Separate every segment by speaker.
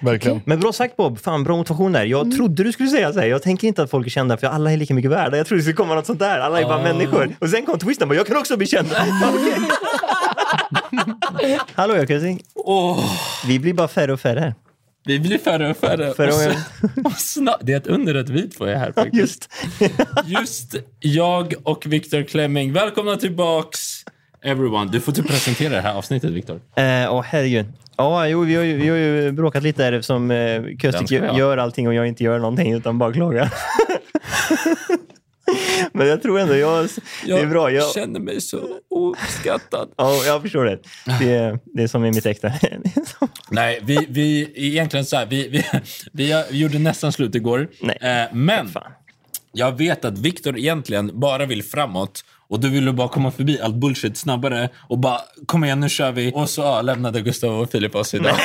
Speaker 1: Verkligen.
Speaker 2: Men bra sagt Bob, fan bra motivation där. Jag trodde du skulle säga så här. jag tänker inte att folk är kända för alla är lika mycket värda. Jag trodde det skulle komma något sånt där, alla är bara människor. Och sen kom twisten, bara, jag kan också bli känd. Okej. Hallå jag Kusing.
Speaker 1: Åh,
Speaker 2: Vi blir bara färre och färre.
Speaker 1: vi blir färre och färre.
Speaker 2: Färre
Speaker 1: och
Speaker 2: och-
Speaker 1: så- och snart, det är ett under att vi två är här faktiskt.
Speaker 2: Just.
Speaker 1: Just jag och Viktor Klemming. Välkomna tillbaks everyone. Du får typ presentera det här avsnittet Viktor.
Speaker 2: Eh, Åh herregud. Ja, jo, vi har, ju, vi har ju bråkat lite där eftersom eh,
Speaker 1: Den
Speaker 2: Köstik
Speaker 1: ska jag.
Speaker 2: gör allting och jag inte gör någonting utan bara klagar. Men jag tror ändå jag, det är bra. Jag,
Speaker 1: känner mig så uppskattad.
Speaker 2: ja, jag förstår det. det. är- Det är som i mitt äkta.
Speaker 1: Nej, vi, vi egentligen så här, vi, vi, vi, har- vi gjorde nästan slut igår.
Speaker 2: Nej.
Speaker 1: Eh, men
Speaker 2: Fan.
Speaker 1: jag vet att Viktor egentligen bara vill framåt och du ville bara komma förbi allt bullshit snabbare och bara kom igen nu kör vi. Och så ja, lämnade Gustav och Filip oss idag.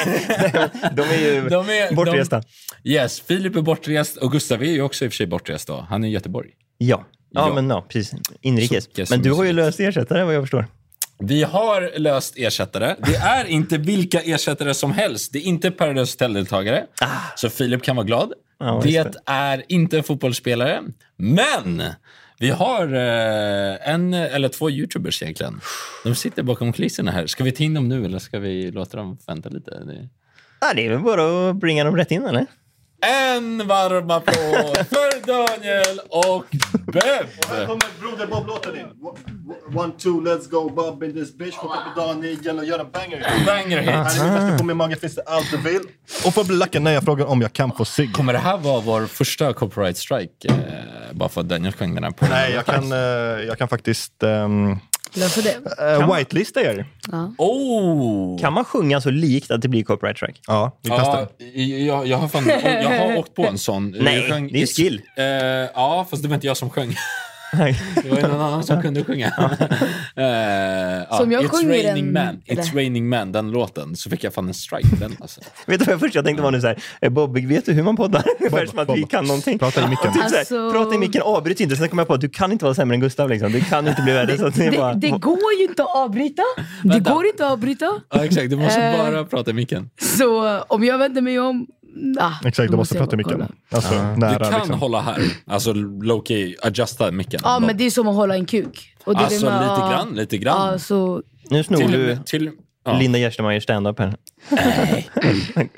Speaker 2: De är ju
Speaker 1: De är-
Speaker 2: bortresta.
Speaker 1: de- Yes, Filip är bortrest och Gustav är ju också i och för sig bortrest då. Han är i Göteborg.
Speaker 2: Ja. Ja,
Speaker 1: Ja.
Speaker 2: men ja, precis. Inrikes.
Speaker 1: Suckas
Speaker 2: men du
Speaker 1: som
Speaker 2: har ju
Speaker 1: suckas.
Speaker 2: löst ersättare vad jag förstår.
Speaker 1: Vi har löst ersättare. Det är inte vilka ersättare som helst. Det är inte Paradise Hotel-deltagare. Så Filip kan vara glad.
Speaker 2: Ah. Ja,
Speaker 1: det,
Speaker 2: just det.
Speaker 1: är inte en fotbollsspelare. Men vi har eh, en eller två YouTubers egentligen. De sitter bakom kulisserna här. Ska vi ta in dem nu eller ska vi låta dem vänta lite? Det-
Speaker 2: Ja, det är väl bara att bringa dem rätt in, eller?
Speaker 1: En varm applåd för Daniel och Bev!
Speaker 3: Här kommer Broder Bob-låten in. One, two, let's go Bob in this bitch. Hoppa på Daniel och gör en banger.
Speaker 1: Banger
Speaker 2: Ah.
Speaker 1: hit.
Speaker 3: Här är min fäste på min mage finns det allt du vill. Och för blacken, när jag frågar om jag kan få cigg.
Speaker 1: Kommer det här vara vår första copyright strike? Eh, bara för att Daniel sjöng den här på
Speaker 3: Nej, jag kan, eh, jag kan faktiskt um,
Speaker 4: Löser det.
Speaker 3: whitelista er.
Speaker 1: Oh!
Speaker 2: Eh, Kan man sjunga så likt att det blir copyright track?
Speaker 3: Ja, vi
Speaker 1: Ja,
Speaker 3: testar.
Speaker 1: jag, jag, har fan, jag har åkt på en sån.
Speaker 2: Nej,
Speaker 1: Jag sjöng-
Speaker 2: det är skill.
Speaker 1: Eh, ja, fast det var inte jag som sjöng. Det var ju någon annan som kunde sjunga. Eh, ja,
Speaker 4: Som jag
Speaker 1: It's
Speaker 4: sjunger den,
Speaker 1: raining man, It's
Speaker 4: eller?
Speaker 1: raining man, den låten. Så fick jag fan en strike den alltså.
Speaker 2: Vet du vad jag först jag tänkte var nu så här, eh, Bobby, vet du hur man poddar? Ungefär som att vi
Speaker 3: Bob.
Speaker 2: kan någonting.
Speaker 3: Prata i micken.
Speaker 2: Typ så här,
Speaker 4: Alltså-
Speaker 2: Prata i micken, avbryt inte. Sen kom jag på att du kan inte vara sämre än Gustav. Liksom. Du kan inte bli värre. Så att det, är bara,
Speaker 4: Det, det går ju inte att avbryta. Det
Speaker 1: Vänta.
Speaker 4: går inte att avbryta.
Speaker 1: Ja, exakt. Du måste
Speaker 4: Eh.
Speaker 1: bara prata i micken.
Speaker 4: Så eh, om jag vänder mig om... Ah,
Speaker 3: Exakt,
Speaker 4: då
Speaker 3: du måste
Speaker 4: jag
Speaker 3: prata i
Speaker 4: bara
Speaker 3: micken.
Speaker 4: kolla.
Speaker 3: Alltså,
Speaker 1: Du
Speaker 3: nära
Speaker 1: kan
Speaker 3: liksom.
Speaker 1: hålla här. Alltså low-key, adjusta micken.
Speaker 4: Ja, men det är som att hålla en kuk. Och det är det
Speaker 1: alltså
Speaker 4: med-
Speaker 1: lite
Speaker 4: ja,
Speaker 1: grann, lite
Speaker 4: Ja,
Speaker 1: grann.
Speaker 4: så
Speaker 2: nu snor du
Speaker 1: till, till, ja.
Speaker 2: Linda Gerstenmeyers standup här.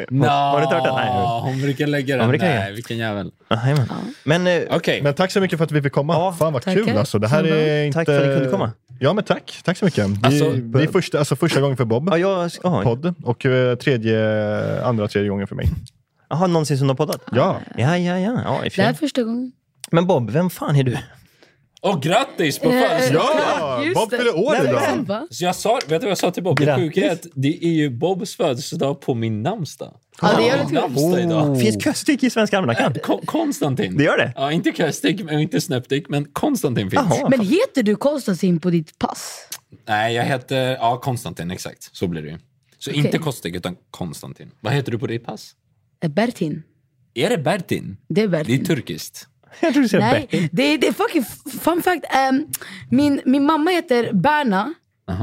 Speaker 1: Nå,
Speaker 2: Har du inte hört den? Nej.
Speaker 1: Hon brukar lägga
Speaker 2: Hon
Speaker 1: den.
Speaker 2: brukar lägga
Speaker 1: Nej,
Speaker 2: den.
Speaker 1: vilken jävel.
Speaker 2: Ah, jajamän. men eh,
Speaker 1: Okej.
Speaker 3: Men tack så mycket för att vi fick komma. Fan vad
Speaker 4: tackar.
Speaker 3: kul alltså. Det här är inte...
Speaker 2: Tack för att ni kunde komma.
Speaker 3: Ja, men tack. Tack så mycket. Vi,
Speaker 1: Alltså,
Speaker 3: det är första, alltså, första gången för Bob.
Speaker 2: ja, jag ska, aha,
Speaker 3: Podd. Och eh, tredje, andra, tredje gången för mig.
Speaker 2: aha, någonsin som du har poddat?
Speaker 3: Ja.
Speaker 2: Ja, ja, ja. ja i och för
Speaker 4: det här är
Speaker 2: sig.
Speaker 4: första gången.
Speaker 2: men Bob, vem fan är du?
Speaker 1: Och grattis på
Speaker 4: Eh,
Speaker 1: födelsedagen!
Speaker 3: Ja!
Speaker 4: Just
Speaker 3: Bob
Speaker 4: det.
Speaker 3: fyller år
Speaker 2: Nej, men-
Speaker 3: idag.
Speaker 4: Sen va?
Speaker 1: Så jag sa, vet du vad jag sa till Bob? Det
Speaker 2: Grattis.
Speaker 1: sjuka är att det är ju Bobs födelsedag på min namnsdag.
Speaker 4: Ja, det gör det
Speaker 1: Min
Speaker 4: till.
Speaker 1: namnsdag idag.
Speaker 2: Finns Köstik i Svenska almanackan?
Speaker 1: Ko- Konstantin.
Speaker 2: Oh. Det gör det?
Speaker 1: Ja, inte Köstik och inte Snöptik, men Konstantin finns.
Speaker 2: Jaha.
Speaker 4: Men heter du Konstantin på ditt pass?
Speaker 1: Nej, jag heter... Ja, Konstantin, exakt. Så blir det ju. Så inte Kostek, utan Konstantin. Vad heter du på ditt pass?
Speaker 4: Eh, Bertin.
Speaker 1: Är det Bertin?
Speaker 4: Det är Bertin.
Speaker 1: Det är turkiskt.
Speaker 2: Jag tror du säger
Speaker 4: Nej,
Speaker 2: Bertil.
Speaker 4: det är, det är fucking fun fact. ehm, min, min mamma heter Berna,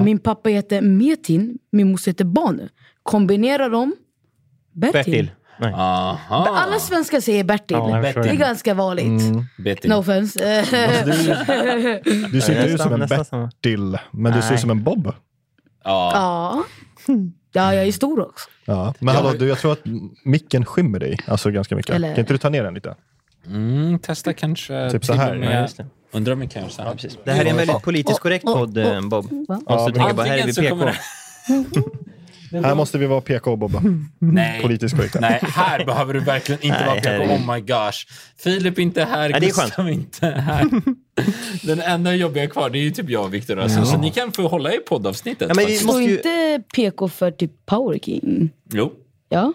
Speaker 4: min pappa heter Metin, min morsa heter Banu. Kombinera dem, Bertil.
Speaker 2: Bertil. Nej.
Speaker 1: Aha.
Speaker 4: Alla svenskar säger Bertil.
Speaker 2: Ja, jag förstår
Speaker 4: det är
Speaker 2: det. Mm.
Speaker 4: ganska vanligt.
Speaker 1: Bertin.
Speaker 4: No offense. Eh,
Speaker 5: Du ser inte ut som en
Speaker 2: nästan samma.
Speaker 5: Bertil, men du ser ut som en Bob.
Speaker 1: Ja.
Speaker 4: ja. ja, jag är stor också.
Speaker 5: Ja. Men hallå, du, jag tror att micken skymmer dig alltså, ganska mycket.
Speaker 4: Eller-
Speaker 5: Kan inte du ta ner den lite?
Speaker 1: Mm, testa kanske.
Speaker 5: Typ så
Speaker 1: till och
Speaker 5: här.
Speaker 1: med-
Speaker 2: Ja, just det.
Speaker 1: Undrar om vi kan göra så här.
Speaker 2: Det här är en väldigt politiskt korrekt podd, eh, Bob. Måste du tänka på, här är vi
Speaker 1: Antingen så kommer
Speaker 2: PK.
Speaker 1: det...
Speaker 5: Här måste vi vara PK, Bob.
Speaker 1: Nej.
Speaker 5: Politiskt korrekt.
Speaker 1: Nej, här behöver du verkligen inte
Speaker 2: Nej,
Speaker 1: vara PK.
Speaker 2: herregud.
Speaker 1: Oh my gosh. Filip är inte här,
Speaker 2: Ja, det är skönt.
Speaker 1: Gustav är inte här. Den enda jobbiga kvar, det är ju typ jag och Viktor. Alltså. Så ni kan få hålla i poddavsnittet.
Speaker 2: Ja, men vi
Speaker 1: faktiskt.
Speaker 4: Står
Speaker 2: måste ju...
Speaker 4: inte PK för typ Power King?
Speaker 1: Jo,
Speaker 4: Ja.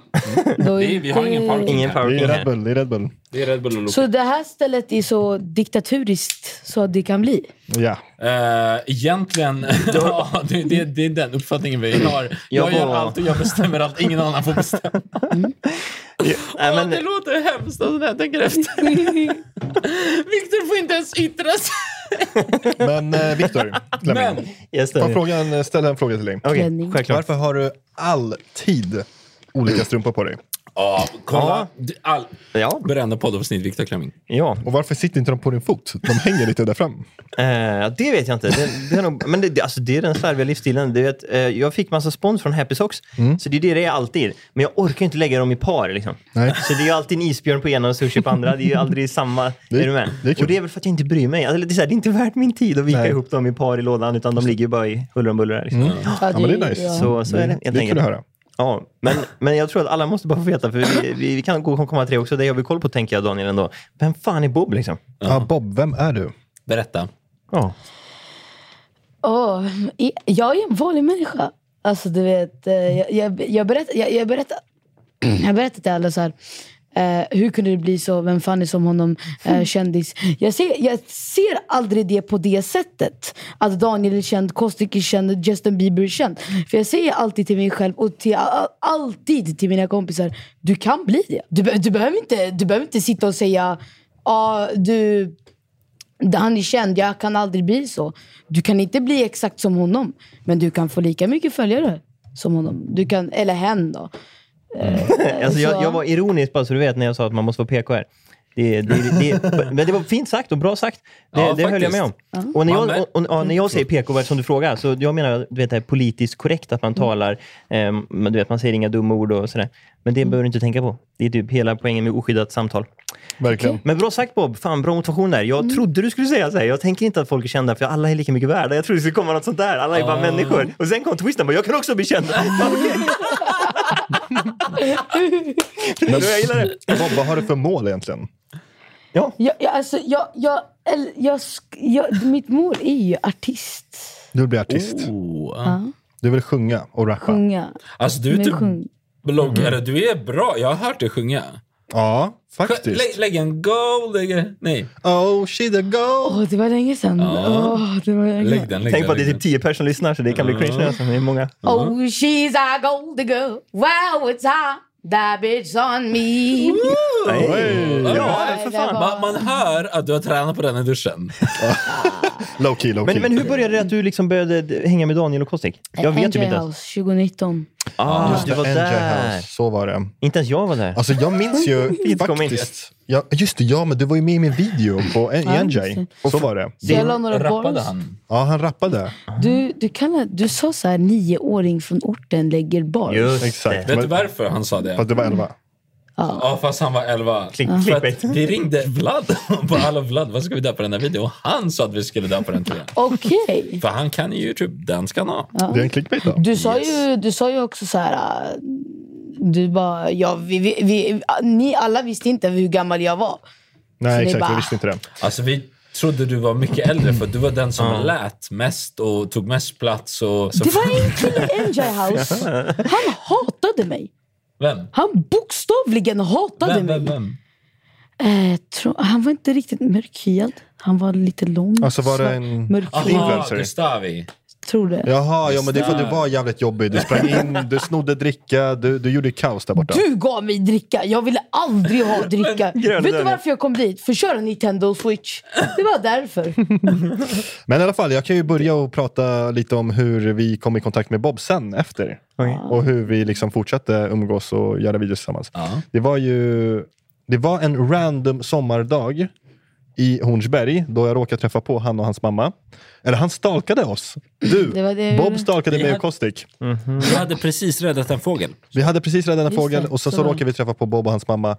Speaker 4: Då
Speaker 1: det är, vi har ingen parking
Speaker 2: Ingen
Speaker 1: här.
Speaker 5: Det
Speaker 2: powerking
Speaker 5: är Red
Speaker 2: här.
Speaker 5: Bull. Det är Red Bull.
Speaker 1: Det är Red Bull och Loka.
Speaker 4: Så det här stället är så diktaturiskt så det kan bli?
Speaker 5: Ja.
Speaker 1: Eh, egentligen, ja, det, det, det är den uppfattningen vi har. Jag,
Speaker 2: Jag
Speaker 1: gör
Speaker 2: var-
Speaker 1: allt och jag bestämmer allt. Ingen annan får bestämma.
Speaker 2: Nej,
Speaker 1: Det
Speaker 2: men,
Speaker 1: låter hemskt alltså, när jag tänker efter. Viktor får inte ens yttra sig.
Speaker 5: Men eh, Viktor,
Speaker 1: Men,
Speaker 5: Lemming,
Speaker 2: just
Speaker 5: ta
Speaker 2: det.
Speaker 5: frågan, ställ en fråga till dig.
Speaker 2: Okej,
Speaker 4: Klänning.
Speaker 2: självklart.
Speaker 5: Varför har du alltid olika strumpor på dig?
Speaker 1: ja, kolla. All,
Speaker 2: Ja.
Speaker 1: varenda poddavsnitt, Viktor Klemming.
Speaker 2: Ja,
Speaker 5: Och varför sitter inte de på din fot? De hänger lite där fram.
Speaker 2: Eh, det vet jag inte. Det, det är nog, men det- det, alltså, det är den slarviga livsstilen. Du vet, eh, jag fick massa spons från Happy Socks,
Speaker 5: Mm.
Speaker 2: så det är det det är alltid. Men jag orkar inte lägga dem i par. Liksom.
Speaker 5: Nej.
Speaker 2: Så det är ju alltid en isbjörn på ena och sushi på andra. Det är ju aldrig samma.
Speaker 5: Det-
Speaker 2: är du med?
Speaker 5: det är kul.
Speaker 2: och det är väl för att jag inte bryr mig. Alltså, det, är så här, det är inte värt min tid att vika
Speaker 5: Nej.
Speaker 2: ihop dem i par i lådan, utan de ligger ju bara i huller om buller. här, Liksom.
Speaker 4: Ja,
Speaker 5: Ja, men det är nice.
Speaker 4: ja.
Speaker 2: Så, så är det.
Speaker 5: Det
Speaker 2: helt
Speaker 5: är kul
Speaker 2: enkelt.
Speaker 5: att höra.
Speaker 2: Ja, men, men jag tror att alla måste bara få veta, för vi, vi, vi kan gå- komma till det också. Det har vi koll på, tänker jag, Daniel, ändå. Vem fan är Bob, liksom?
Speaker 5: Ja, Bob, vem är du?
Speaker 1: Berätta.
Speaker 2: Ja.
Speaker 4: Åh, i- jag är en vanlig människa. Alltså du vet, eh, jag, jag, jag berättar jag, jag berättar, jag berättar till alla så här. eh, hur kunde det bli så? Vem fan är som honom? Eh, kändis. Jag ser, jag ser aldrig det på det sättet. Att Daniel är känd, Kostik är känd, Justin Bieber är känd. För jag säger alltid till mig själv och till, a- alltid till mina kompisar. Du kan bli det. Du, be- du, behöver, inte, du behöver inte sitta och säga ah, du han är känd, jag kan aldrig bli så. Du kan inte bli exakt som honom, men du kan få lika mycket följare som honom. Du kan, eller hen då.
Speaker 2: Alltså
Speaker 4: Så.
Speaker 2: jag, jag var ironisk bara så du vet när jag sa att man måste vara PK här. Det, det, det, men det var fint sagt och bra sagt. Det,
Speaker 1: Ja,
Speaker 2: det höll jag
Speaker 1: faktiskt.
Speaker 2: med om. Och när
Speaker 1: Man
Speaker 2: jag,
Speaker 1: mär-
Speaker 2: och, och, ja, när jag säger PK, vad som du frågar, så jag menar du vet, det är politiskt korrekt att man talar, ehm, men du vet, man säger inga dumma ord och sådär. Men det behöver du inte tänka på. Det är typ hela poängen med oskyddat samtal.
Speaker 5: Verkligen.
Speaker 2: Men bra sagt Bob, fan bra motivation där. Jag trodde du skulle säga så här. Jag tänker inte att folk är kända för alla är lika mycket värda. Jag trodde det skulle komma något sånt där. Alla är
Speaker 1: Ah.
Speaker 2: bara människor. Och sen kom twisten, bara, jag kan också bli känd.
Speaker 5: Men,
Speaker 2: jag gillar det.
Speaker 5: Bob, vad har du för mål egentligen?
Speaker 2: ja.
Speaker 4: Jag, jag, alltså, jag, jag, eller, jag, sk- jag, mitt mål är ju artist.
Speaker 5: Du vill bli artist.
Speaker 1: Oh.
Speaker 5: Du vill sjunga och rappa.
Speaker 4: Sjunga.
Speaker 1: Alltså du är
Speaker 4: Men
Speaker 1: typ
Speaker 4: sjung.
Speaker 1: bloggare. Du är bra. Jag har hört dig sjunga.
Speaker 5: Ja,
Speaker 1: Sjö- Lä,
Speaker 5: faktiskt.
Speaker 1: lägg en go. Lägg, nej,
Speaker 3: Alltså,
Speaker 5: Oh, she's a go!
Speaker 4: Åh, det var länge sedan.
Speaker 1: Ja.
Speaker 4: Åh, det var länge
Speaker 1: lägg
Speaker 4: sedan.
Speaker 1: den. Lägg
Speaker 2: Tänk
Speaker 1: den,
Speaker 2: på att det är
Speaker 1: lägg
Speaker 2: typ 10 personer som lyssnar, så det kan bli cringe nu. Alltså. Det är många.
Speaker 4: Oh, she's a golden girl. Wow, it's hot. That bitch on me.
Speaker 1: den.
Speaker 2: Ja,
Speaker 4: Nej,
Speaker 2: för
Speaker 4: det
Speaker 2: fan.
Speaker 4: var-
Speaker 1: Man, man hör att du har tränat på den i duschen.
Speaker 5: Low key, low key.
Speaker 2: Men, men hur började det att du liksom började d- hänga med Daniel och Kostik? Jag vet typ
Speaker 4: NJ
Speaker 2: inte ens.
Speaker 4: House 2019.
Speaker 2: Ah,
Speaker 5: Just
Speaker 2: du
Speaker 5: det,
Speaker 2: var
Speaker 5: NJ
Speaker 2: där.
Speaker 5: House. Så var det.
Speaker 2: Inte ens jag var där.
Speaker 5: Alltså jag minns ju
Speaker 2: kom in.
Speaker 5: faktiskt... Ja, just det, ja men du var ju med i min video på
Speaker 4: Ja, just
Speaker 5: NJ. Så var det.
Speaker 4: Så jag la några
Speaker 1: Rappade
Speaker 4: bars.
Speaker 1: han?
Speaker 5: Ja, han rappade.
Speaker 4: Du, du, kallar, du sa så här, nioåring från orten lägger bars.
Speaker 5: Exakt.
Speaker 1: Vet du
Speaker 5: Men,
Speaker 1: varför han sa det?
Speaker 5: fast det var elva.
Speaker 1: Ja, fast han var 11.
Speaker 2: Klick-
Speaker 1: För att
Speaker 2: clickbait.
Speaker 1: vi ringde Vlad på alla Vlad, vad ska vi döpa den här videon? Och han sa att vi skulle döpa den till det.
Speaker 4: Okej.
Speaker 1: För han kan ju typ Youtube, den ska han ha.
Speaker 5: Det är en clickbait då.
Speaker 4: Du, sa ju, du sa ju också så här... äh, Du bara, ja, vi, vi, vi, ni alla visste inte hur gammal jag var.
Speaker 5: Nej,
Speaker 4: det är
Speaker 5: exakt.
Speaker 4: bara-
Speaker 5: Jag visste inte det.
Speaker 1: Alltså vi trodde du var mycket äldre för du var den som lät mest och tog mest plats. Och, så
Speaker 4: Det var en kille i NJ House. Han hatade mig.
Speaker 1: Vem?
Speaker 4: Han bokstavligen hatade
Speaker 1: Vem,
Speaker 4: mig.
Speaker 1: vem, vem?
Speaker 4: Eh, tro, han var inte riktigt mörkhyad. Han var lite lång.
Speaker 5: Alltså, var det
Speaker 4: svart-
Speaker 5: en-
Speaker 4: mörkhyad.
Speaker 5: Influencer.
Speaker 1: Aha, Gustavi.
Speaker 4: Tror det.
Speaker 3: Jaha, ja, men det är för att du var jävligt jobbig. Du sprang in, du snodde dricka, du, du gjorde kaos där borta.
Speaker 4: Du gav mig dricka! Jag ville aldrig ha dricka.
Speaker 2: grön
Speaker 4: Vet du
Speaker 2: dörr.
Speaker 4: varför jag kom dit? För att köra Nintendo Switch. Det var därför.
Speaker 3: Men i alla fall, jag kan ju börja och prata lite om hur vi kom i kontakt med Bob sen efter.
Speaker 2: Okej.
Speaker 3: Och hur vi liksom fortsatte umgås och göra videos tillsammans.
Speaker 1: Ja.
Speaker 3: Det var ju det var en random sommardag i Hornsberg då jag råkade träffa på han och hans mamma. Eller han stalkade oss. Du,
Speaker 4: Det var det jag
Speaker 3: Bob
Speaker 4: gjorde.
Speaker 3: stalkade mig
Speaker 1: Ja.
Speaker 3: och Kostik.
Speaker 1: Jag hade precis räddat en fågel.
Speaker 3: Vi hade precis räddat en
Speaker 4: Just
Speaker 3: fågel
Speaker 4: det,
Speaker 3: och sen
Speaker 4: så
Speaker 3: så
Speaker 4: var det.
Speaker 3: råkade vi träffa på Bob och hans mamma.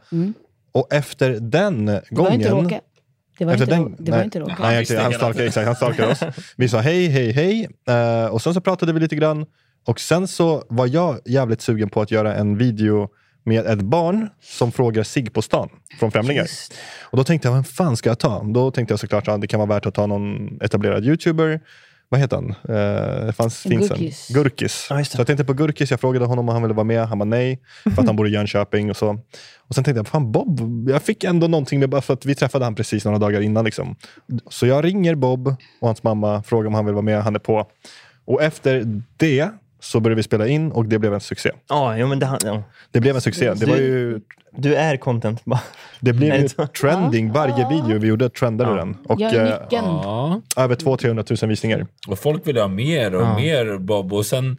Speaker 3: Och efter den
Speaker 4: Det var inte
Speaker 3: gången...
Speaker 4: Råke. Det var
Speaker 3: Efter
Speaker 4: inte,
Speaker 3: Alltså, den,
Speaker 4: Rå- det var inte Råke.
Speaker 3: Nej, exakt, han stalkade, exakt, han stalkade oss. Vi sa hej, hej, hej. Eh, och sen så pratade vi lite grann. Och sen så var jag jävligt sugen på att göra en video med ett barn som frågar sig på stan från främlingar. Och då tänkte jag, vem fan ska jag ta? Då tänkte jag såklart att ja, det kan vara värt att ta någon etablerad youtuber. Vad heter han? Eh, det fanns, finns
Speaker 4: Gurkis.
Speaker 3: en. Gurkis.
Speaker 2: Ja, just det.
Speaker 3: så jag tänkte på Gurkis, jag frågade honom om han ville vara med. Han var nej, för att han bor i Jönköping och så. Och sen tänkte jag, fan Bob, jag fick ändå någonting med bara för att vi träffade han precis några dagar innan. Liksom. Så jag ringer Bob och hans mamma, frågar om han vill vara med, han är på. Och efter det så började vi spela in och det blev en succé.
Speaker 2: Ja, Ah, jo, men det, han- ja.
Speaker 3: Det blev en succé. Det, var ju,
Speaker 2: Du är content. bara.
Speaker 3: det blev
Speaker 2: Är
Speaker 3: ju
Speaker 2: det så?
Speaker 3: trending. Varje video vi gjorde trendade den. Och
Speaker 4: Jag
Speaker 3: eh,
Speaker 4: är nyckeln.
Speaker 1: Ja.
Speaker 3: över 200-300 000 visningar.
Speaker 1: Och folk ville ha mer och mer Bob. Och sen,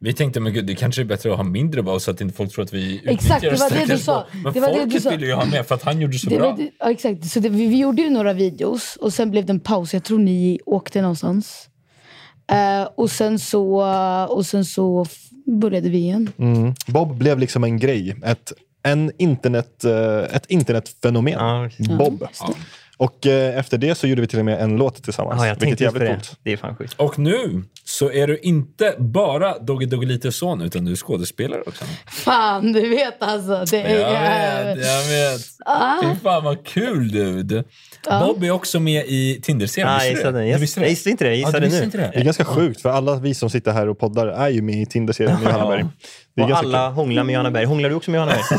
Speaker 1: vi tänkte men gud, det kanske är bättre att ha mindre Bob så att inte folk tror att vi utnyttjar
Speaker 4: Exakt, det var det
Speaker 1: stackars
Speaker 4: du sa.
Speaker 1: Bob. Men
Speaker 4: Det var det du
Speaker 1: folket
Speaker 4: sa.
Speaker 1: ville ju ha mer för att han gjorde så
Speaker 4: Det
Speaker 1: bra.
Speaker 4: var, det- ja, exakt. Så det, vi, vi gjorde ju några videos och sen blev det en paus. Jag tror ni åkte någonstans. Eh, och sen så, och sen så f- började vi igen.
Speaker 3: Mm. Bob blev liksom en grej. Ett, en internet, eh, ett internetfenomen.
Speaker 2: Ja, precis.
Speaker 3: Bob. Och eh, efter det så gjorde vi till och med en låt tillsammans.
Speaker 2: Ja, jag
Speaker 3: vilket
Speaker 2: tänkte
Speaker 3: är
Speaker 2: just på
Speaker 3: jävligt
Speaker 2: det.
Speaker 3: coolt.
Speaker 2: Det är fan sjukt.
Speaker 1: Och nu så är du inte bara Doggy Doggeliters son utan du är skådespelare också.
Speaker 4: Fan, du vet alltså. Det är, Ah,
Speaker 1: Jag vet, jag vet. Fy fan vad kul dude. Bob är också med i Tinder-serien.
Speaker 2: Ah, jag
Speaker 1: visste du
Speaker 2: gissade,
Speaker 1: det?
Speaker 2: jag,
Speaker 1: Du visste
Speaker 2: jag visste inte det. Jag
Speaker 1: Ja, du
Speaker 2: gissade
Speaker 1: visste
Speaker 2: nu.
Speaker 1: inte
Speaker 3: Det är
Speaker 1: det?
Speaker 3: ganska sjukt, för alla vi som sitter här och poddar är ju med i Tinder-serien med Johanna Berg. Det är
Speaker 2: Och
Speaker 3: ganska
Speaker 2: alla hånglar med Johanna Berg. Hånglar du också med Johanna Berg?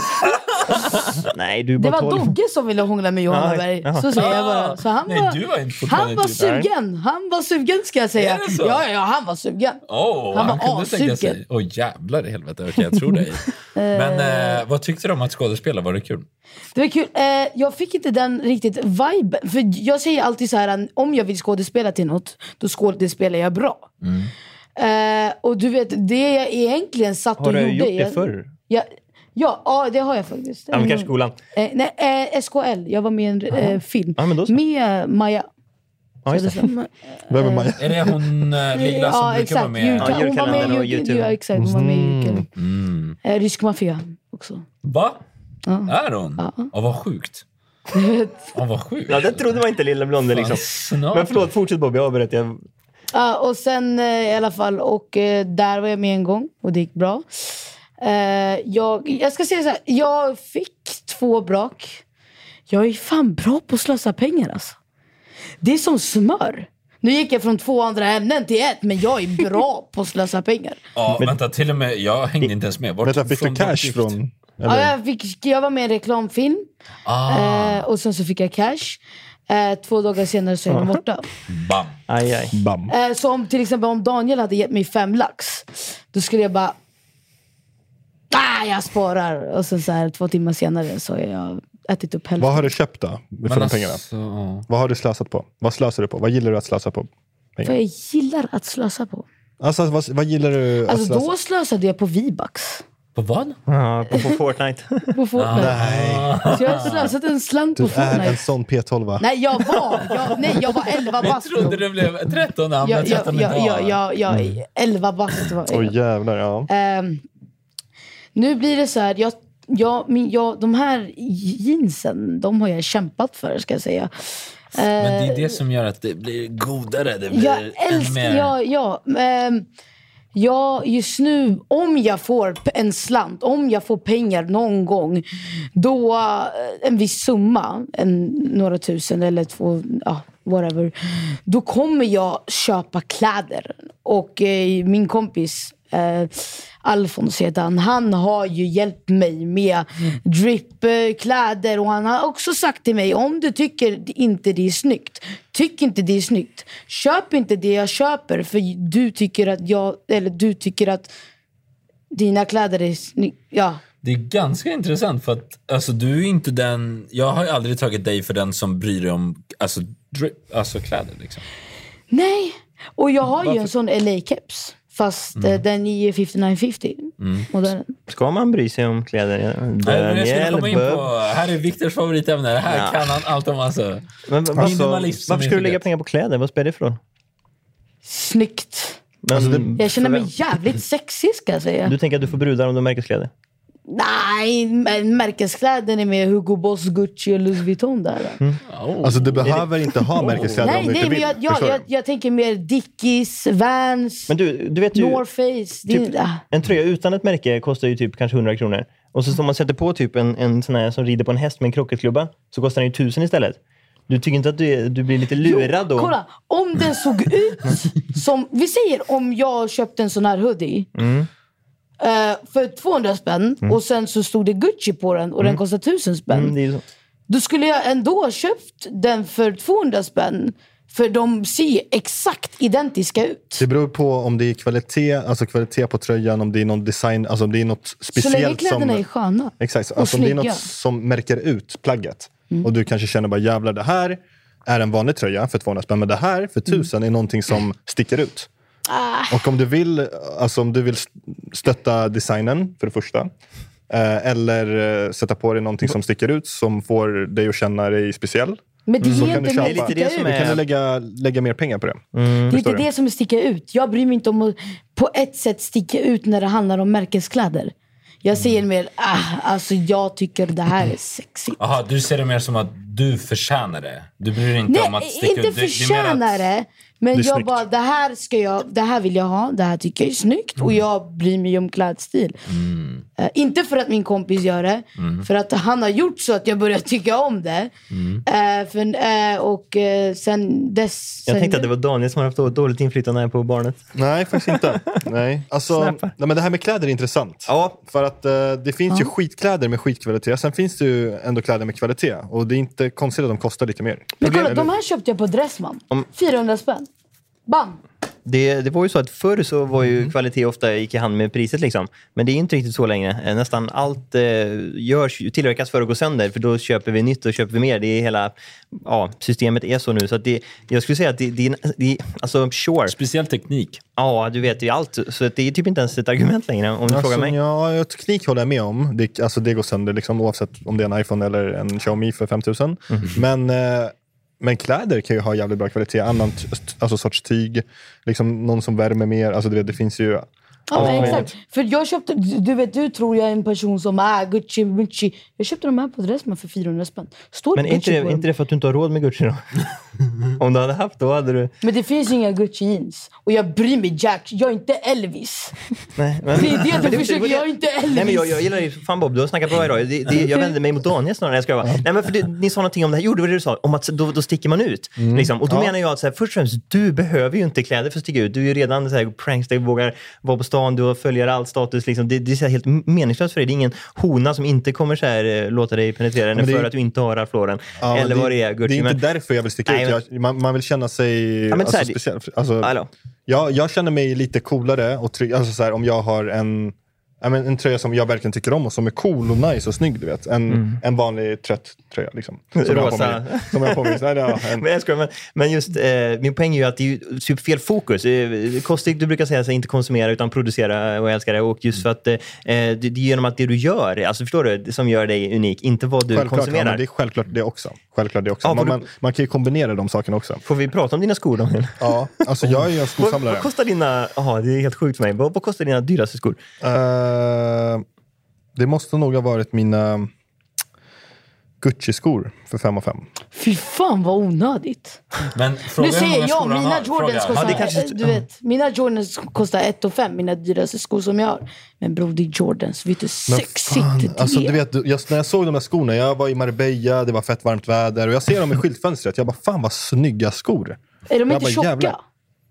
Speaker 2: Nej, du är
Speaker 4: Det
Speaker 2: bara
Speaker 4: var
Speaker 2: tolv.
Speaker 4: Dogge som ville hångla med Johanna
Speaker 2: Ja,
Speaker 4: Berg.
Speaker 2: jaha.
Speaker 4: Så säger jag bara. Så han
Speaker 1: Nej,
Speaker 4: var,
Speaker 1: du var inte fortfarande
Speaker 4: han var
Speaker 1: typ där.
Speaker 4: sugen. Han var sugen ska jag säga.
Speaker 1: Är det så?
Speaker 4: Ja, ja, ja, han var sugen.
Speaker 1: Åh,
Speaker 4: Han
Speaker 1: han,
Speaker 4: var
Speaker 1: kunde tänka sig.
Speaker 4: assugen.
Speaker 1: Åh jävlar i helvete, okej jag tror dig. Men eh, vad tyckte du om att skådespela? Var det kul?
Speaker 4: Det var kul. Eh, jag fick inte den riktigt vibe. För jag säger alltid så här, eh, om jag vill skådespela till något, då skådespelar jag bra.
Speaker 2: Mm.
Speaker 4: Eh, och du vet, det jag egentligen satt
Speaker 2: Har
Speaker 4: och
Speaker 2: du
Speaker 4: gjorde...
Speaker 2: gjort det
Speaker 4: jag-
Speaker 2: förr?
Speaker 4: Jag, ja, ja, det har jag faktiskt.
Speaker 2: Ja, men kanske skolan.
Speaker 4: Eh, nej, eh, SKL. Jag var med i en eh, film.
Speaker 2: Ja, men då så.
Speaker 4: Med eh, Maja.
Speaker 2: Ja, just det.
Speaker 3: kul. Vem är Maja?
Speaker 1: Är det hon eh, lilla som brukar vara med?
Speaker 4: Julka-
Speaker 2: Ja,
Speaker 4: hon var med
Speaker 2: julkalendern och
Speaker 4: i Jul-
Speaker 2: YouTube.
Speaker 4: ja, exakt. Hon var med i julkalendern.
Speaker 1: Mm.
Speaker 4: Eh, Rysk maffia också.
Speaker 1: Va?
Speaker 4: Ja.
Speaker 1: Är hon? Ja. vad sjukt. Ja, vad sjukt.
Speaker 2: Ja, det trodde man inte, Lilla Blonde. Liksom.
Speaker 1: Snart.
Speaker 2: Men förlåt, fortsätt Bobby. Jag avbröt. Jag...
Speaker 4: Ja, och sen eh, i alla fall, och eh, där var jag med en gång och det gick bra. Eh, jag, jag ska säga så här, jag fick två brak. Jag är fan bra på att slösa pengar alltså. Det är som smör. Nu gick jag från två andra ämnen till ett, men jag är bra på att slösa pengar.
Speaker 1: Ja, vänta, till och med jag hängde inte ens med. Vart,
Speaker 3: Vänta, fick du
Speaker 1: från vart
Speaker 3: cash
Speaker 1: gick du?
Speaker 3: från...
Speaker 4: Ja,
Speaker 3: Eller?
Speaker 4: jag, fick, jag var med i en reklamfilm
Speaker 1: Ah,
Speaker 4: eh, och sen så fick jag cash. Eh, två dagar senare så är
Speaker 3: Ah.
Speaker 4: de borta.
Speaker 1: bam.
Speaker 2: Aj, aj.
Speaker 3: Bam.
Speaker 4: Eh, så om till exempel om Daniel hade gett mig fem lax, då skulle jag bara... Ah, jag sparar! Och sen så här, två timmar senare så har jag ätit upp hälften.
Speaker 3: Vad har du köpt då? För de
Speaker 2: alltså-
Speaker 3: pengarna?
Speaker 1: Alltså, ja.
Speaker 3: Vad har du slösat på? Vad slösar du på? Vad gillar du att slösa på?
Speaker 4: För jag gillar att slösa på.
Speaker 3: Alltså, vad, vad gillar du att
Speaker 4: Alltså
Speaker 3: slösa
Speaker 4: då slösade jag på V-bucks.
Speaker 1: På vad?
Speaker 2: Ja, på, på Fortnite.
Speaker 4: På Fortnite.
Speaker 3: Ah. Nej,
Speaker 4: Så jag har slösat en slant på
Speaker 3: du är en
Speaker 4: Fortnite.
Speaker 3: sån P12.
Speaker 4: Nej jag var, jag, nej, jag var 11
Speaker 1: Jag
Speaker 4: bast.
Speaker 1: trodde det blev 13 namn, men
Speaker 4: Jag, jag,
Speaker 1: 13
Speaker 4: jag,
Speaker 1: idag.
Speaker 4: jag, jag,
Speaker 1: Mm.
Speaker 4: jag, 11 bast var jag.
Speaker 3: Åh jävlar, ja.
Speaker 4: Ehm, nu blir det så här, jag, jag, min, jag, de här jeansen, de har jag kämpat för ska jag säga. Eh,
Speaker 1: Men det är det som gör att det blir godare. Det blir
Speaker 4: Jag
Speaker 1: ännu
Speaker 4: älskar,
Speaker 1: mer.
Speaker 4: ja, ja, ehm, ja, just nu, om jag får p- en slant, om jag får pengar någon gång, då eh, en viss summa, en, några tusen eller två, ja, whatever, då kommer jag köpa kläder. Och eh, min kompis eh, Alfons heter han. Han har ju hjälpt mig med drip, eh, kläder och han har också sagt till mig om du tycker inte det är snyggt, tyck inte det är snyggt. Köp inte det jag köper för du tycker att jag, eller du tycker att dina kläder är snygga. Ja.
Speaker 1: Det är ganska intressant för att alltså, du är inte den... Jag har ju aldrig tagit dig för den som bryr dig om alltså, drip, alltså kläder. Liksom.
Speaker 4: Nej, och jag har ju en sån LA-keps. Fast eh, den är 5950 modellen.
Speaker 2: Ska man bry sig om kläder?
Speaker 1: Nej, Eh, men jag skulle
Speaker 2: Daniel
Speaker 1: komma in
Speaker 2: Böb.
Speaker 1: på... Här är Viktors favoritämne. Det här
Speaker 2: Ja.
Speaker 1: kan han allt om. Alltså.
Speaker 2: Men, vad-
Speaker 1: Minimalism
Speaker 2: alltså,
Speaker 1: som
Speaker 2: varför ska du
Speaker 1: är
Speaker 2: lägga
Speaker 1: skit.
Speaker 2: pengar på kläder? Vad spelar det för roll?
Speaker 4: Snyggt.
Speaker 2: Men,
Speaker 1: Alltså,
Speaker 4: Jag känner mig jävligt sexig ska jag säga.
Speaker 2: Du tänker att du får brudar om du har märkeskläder?
Speaker 4: Nej, men märkeskläder är med Hugo Boss, Gucci och Louis Vuitton där.
Speaker 2: Mm.
Speaker 3: Alltså du behöver inte ha märkeskläder
Speaker 4: Nej,
Speaker 3: om du inte
Speaker 4: nej, men
Speaker 3: vill.
Speaker 4: jag, jag,
Speaker 3: Förstår du?
Speaker 4: jag, jag tänker mer Dickies, Vans,
Speaker 2: Men du, du vet ju...
Speaker 4: North Face. Det,
Speaker 2: Typ,
Speaker 4: ah.
Speaker 2: en tröja utan ett märke kostar ju typ kanske 100 kronor. Och så om man sätter på typ en, en sån här som rider på en häst med en krocketklubba så kostar den ju 1000 istället. Du tycker inte att du, är, du blir lite lurad då?
Speaker 4: Kolla, om den såg ut som... Vi säger om jag köpte en sån här hoodie.
Speaker 2: Mm.
Speaker 4: eh, för 200 spänn och sen så stod det Gucci på den och den kostade 1000 spänn.
Speaker 2: Mm, det är ju så.
Speaker 4: Då skulle jag ändå ha köpt den för 200 spänn. För de ser exakt identiska ut.
Speaker 3: Det beror på om det är kvalitet, alltså kvalitet på tröjan, om det är någon design, alltså om det är något
Speaker 4: Så länge
Speaker 3: speciellt
Speaker 4: kläderna
Speaker 3: som...
Speaker 4: är sköna.
Speaker 3: Exakt,
Speaker 4: och
Speaker 3: alltså om det är
Speaker 4: snygga. Mm.
Speaker 3: något som märker ut plagget. Och du kanske känner bara jävlar, det här är en vanlig tröja för 200 spänn, men det här för
Speaker 4: Mm.
Speaker 3: 1000 är någonting som sticker ut.
Speaker 4: Ah.
Speaker 3: Och om du vill, alltså om du vill stötta designen, för det första. eh, Eller eh, sätta på dig någonting som sticker ut, som får dig att känna dig speciell.
Speaker 4: Men det
Speaker 3: Mm. Så
Speaker 4: är
Speaker 3: kan du
Speaker 4: inte mig
Speaker 3: köpa.
Speaker 4: att
Speaker 2: Det är lite
Speaker 4: sticka
Speaker 2: det
Speaker 4: ut.
Speaker 2: som
Speaker 3: Då
Speaker 2: är-
Speaker 3: kan du lägga, lägga mer pengar på det.
Speaker 4: Det är inte
Speaker 3: du?
Speaker 4: det som är sticka ut. Jag bryr mig inte om att på ett sätt sticka ut när det handlar om märkeskläder. Jag säger mer, ah, alltså jag tycker det här är sexigt.
Speaker 1: Aha, du ser det mer som att du förtjänar det. Du bryr dig inte om att
Speaker 4: Nej,
Speaker 1: sticka
Speaker 4: inte
Speaker 1: ut. Du- det är mer att-
Speaker 4: förtjänar det. Men
Speaker 3: Det är
Speaker 4: jag
Speaker 3: snyggt.
Speaker 4: bara, det här, ska jag, det här vill jag ha, det här tycker jag är snyggt och
Speaker 2: Mm.
Speaker 4: jag bryr mig om klädstil. Eh, inte för att min kompis gör det,
Speaker 2: Mm.
Speaker 4: för att han har gjort så att jag börjar tycka om det. Eh, för, eh, och eh, sen dess...
Speaker 2: Jag
Speaker 4: sen,
Speaker 2: tänkte att det var Daniel som har haft dåligt inflytande här på barnet.
Speaker 3: Nej, faktiskt inte. Nej. Alltså, nej, men det här med kläder är intressant.
Speaker 2: Ja.
Speaker 3: För att eh, det finns ju skitkläder med skitkvalitet. Sen finns det ju ändå kläder med kvalitet. Och det är inte konstigt att de kostar lite mer.
Speaker 4: Men kolla, de
Speaker 3: Eller-
Speaker 4: här köpte jag på Dressman. 400 spänn. Bam!
Speaker 2: Det, det var ju så att förr så var ju kvalitet ofta gick i hand med priset. Liksom. Men det är inte riktigt så längre. Eh, Nästan allt eh, görs, tillverkas för att gå sönder, för då köper vi nytt och köper vi mer. Det är hela ja, systemet är så nu. Så att det, jag skulle säga att det, det, det alltså sure.
Speaker 1: Speciell teknik.
Speaker 2: Ja, du vet ju allt. Så att det är typ inte ens ett argument längre om du frågar
Speaker 3: Alltså,
Speaker 2: mig.
Speaker 3: ja, ja, teknik håller jag med om. Det, alltså, det går sönder liksom, oavsett om det är en iPhone eller en Xiaomi för 5000. Men, eh, men kläder kan ju ha jävligt bra kvalitet. Annan t- alltså, sorts tyg, liksom, någon som värmer mer. Alltså, du vet, det finns ju...
Speaker 4: Ja, men exakt. För jag köpte, du vet, du tror jag är en person som är Gucci, Gucci. Jag köpte de här på Dressman för 400 spänn. Står
Speaker 2: Men är inte
Speaker 4: Gucci
Speaker 2: det,
Speaker 4: på
Speaker 2: är
Speaker 4: dem?
Speaker 2: inte det för att du inte har råd med Gucci då? om du hade haft, då hade du...
Speaker 4: Men det finns ju inga Gucci jeans. Och jag bryr mig Jack, jag är inte Elvis.
Speaker 2: Nej, men...
Speaker 4: Det är det du
Speaker 2: det-
Speaker 4: försöker, jag är inte Elvis.
Speaker 2: Nej, men jag, jag gillar ju... Fan Bob, du har snackat bra idag. Det, det, jag vänder mig mot Daniel snarare. Jag ska vara. Nej, men för det, ni sa någonting om det här. Jo, det var det du sa. Om att då, då sticker man ut. Liksom. Och då menar jag att så här, först och främst, du behöver ju inte kläder för att sticka ut. Du är ju redan så här, prankster, du vågar vara på stan, du har följare, all status. Liksom. Det, det är så här, helt m- meningslöst för dig. Det är ingen hona som inte kommer så här, eh, låta dig penetrera henne
Speaker 3: det är
Speaker 2: för
Speaker 3: ju-
Speaker 2: att du inte har Ralph Lauren.
Speaker 3: Ja,
Speaker 2: Eller vad det är, Gucci.
Speaker 3: Det är inte
Speaker 2: men-
Speaker 3: därför jag vill sticka
Speaker 2: Nej, men-
Speaker 3: ut. Jag, man, man vill känna sig
Speaker 2: men så
Speaker 3: alltså,
Speaker 2: här, det-
Speaker 3: speciell. Alltså,
Speaker 2: Hallå.
Speaker 3: jag, jag känner mig lite coolare och trygg. Alltså, så här, om jag har en, ja, men, en tröja som jag verkligen tycker om och som är cool och nice och snygg. Du vet. En, en vanlig trött tröja. Liksom, som, jag har på
Speaker 2: Mm. Rosa.
Speaker 3: mig, som jag har på mig. Så här, ja, en,
Speaker 2: Men, jag skojar, men, men just eh, min poäng är ju att det är ju typ fel fokus. Eh, Kostig, du brukar säga att inte konsumera utan producera eh, och älska det. Och just för att eh, det, det är genom att det du gör, alltså förstår du, det som gör dig unik, inte vad du
Speaker 3: självklart, ja,
Speaker 2: konsumerar.
Speaker 3: men det är självklart det också. Självklart det också.
Speaker 2: Ja,
Speaker 3: man,
Speaker 2: för du-
Speaker 3: man, man kan ju kombinera de sakerna också.
Speaker 2: Får vi prata om dina skor Daniel?
Speaker 3: Ja, alltså, jag är ju en
Speaker 2: Vad,
Speaker 3: skosamlare.
Speaker 2: vad kostar dina, aha, det är helt sjukt för mig, vad, vad kostar dina dyraste skor?
Speaker 3: Eh, det måste nog ha varit mina Gucci-skor för fem av fem.
Speaker 4: Fy fan vad onödigt.
Speaker 1: Men fråga
Speaker 4: nu
Speaker 1: hur många
Speaker 4: säger
Speaker 1: skor
Speaker 4: jag,
Speaker 1: han
Speaker 4: mina
Speaker 1: har.
Speaker 4: Jordans
Speaker 1: Fråga.
Speaker 4: kostar,
Speaker 2: Ja, det kanske-
Speaker 4: eh, du vet, mina Jordans kostar 1 och 5, mina dyraste skor som jag har. Men bror, det är Jordans. Vet du hur
Speaker 3: Men
Speaker 4: sexigt
Speaker 3: fan,
Speaker 4: det
Speaker 3: alltså, du
Speaker 4: är?
Speaker 3: vet, jag, När jag såg de där skorna, jag var i Marbella, det var fett varmt väder och jag ser dem i skyltfönstret. Jag bara, fan vad snygga skor.
Speaker 4: Är de
Speaker 3: jag
Speaker 4: inte
Speaker 3: bara,
Speaker 4: tjocka?
Speaker 3: jävlar.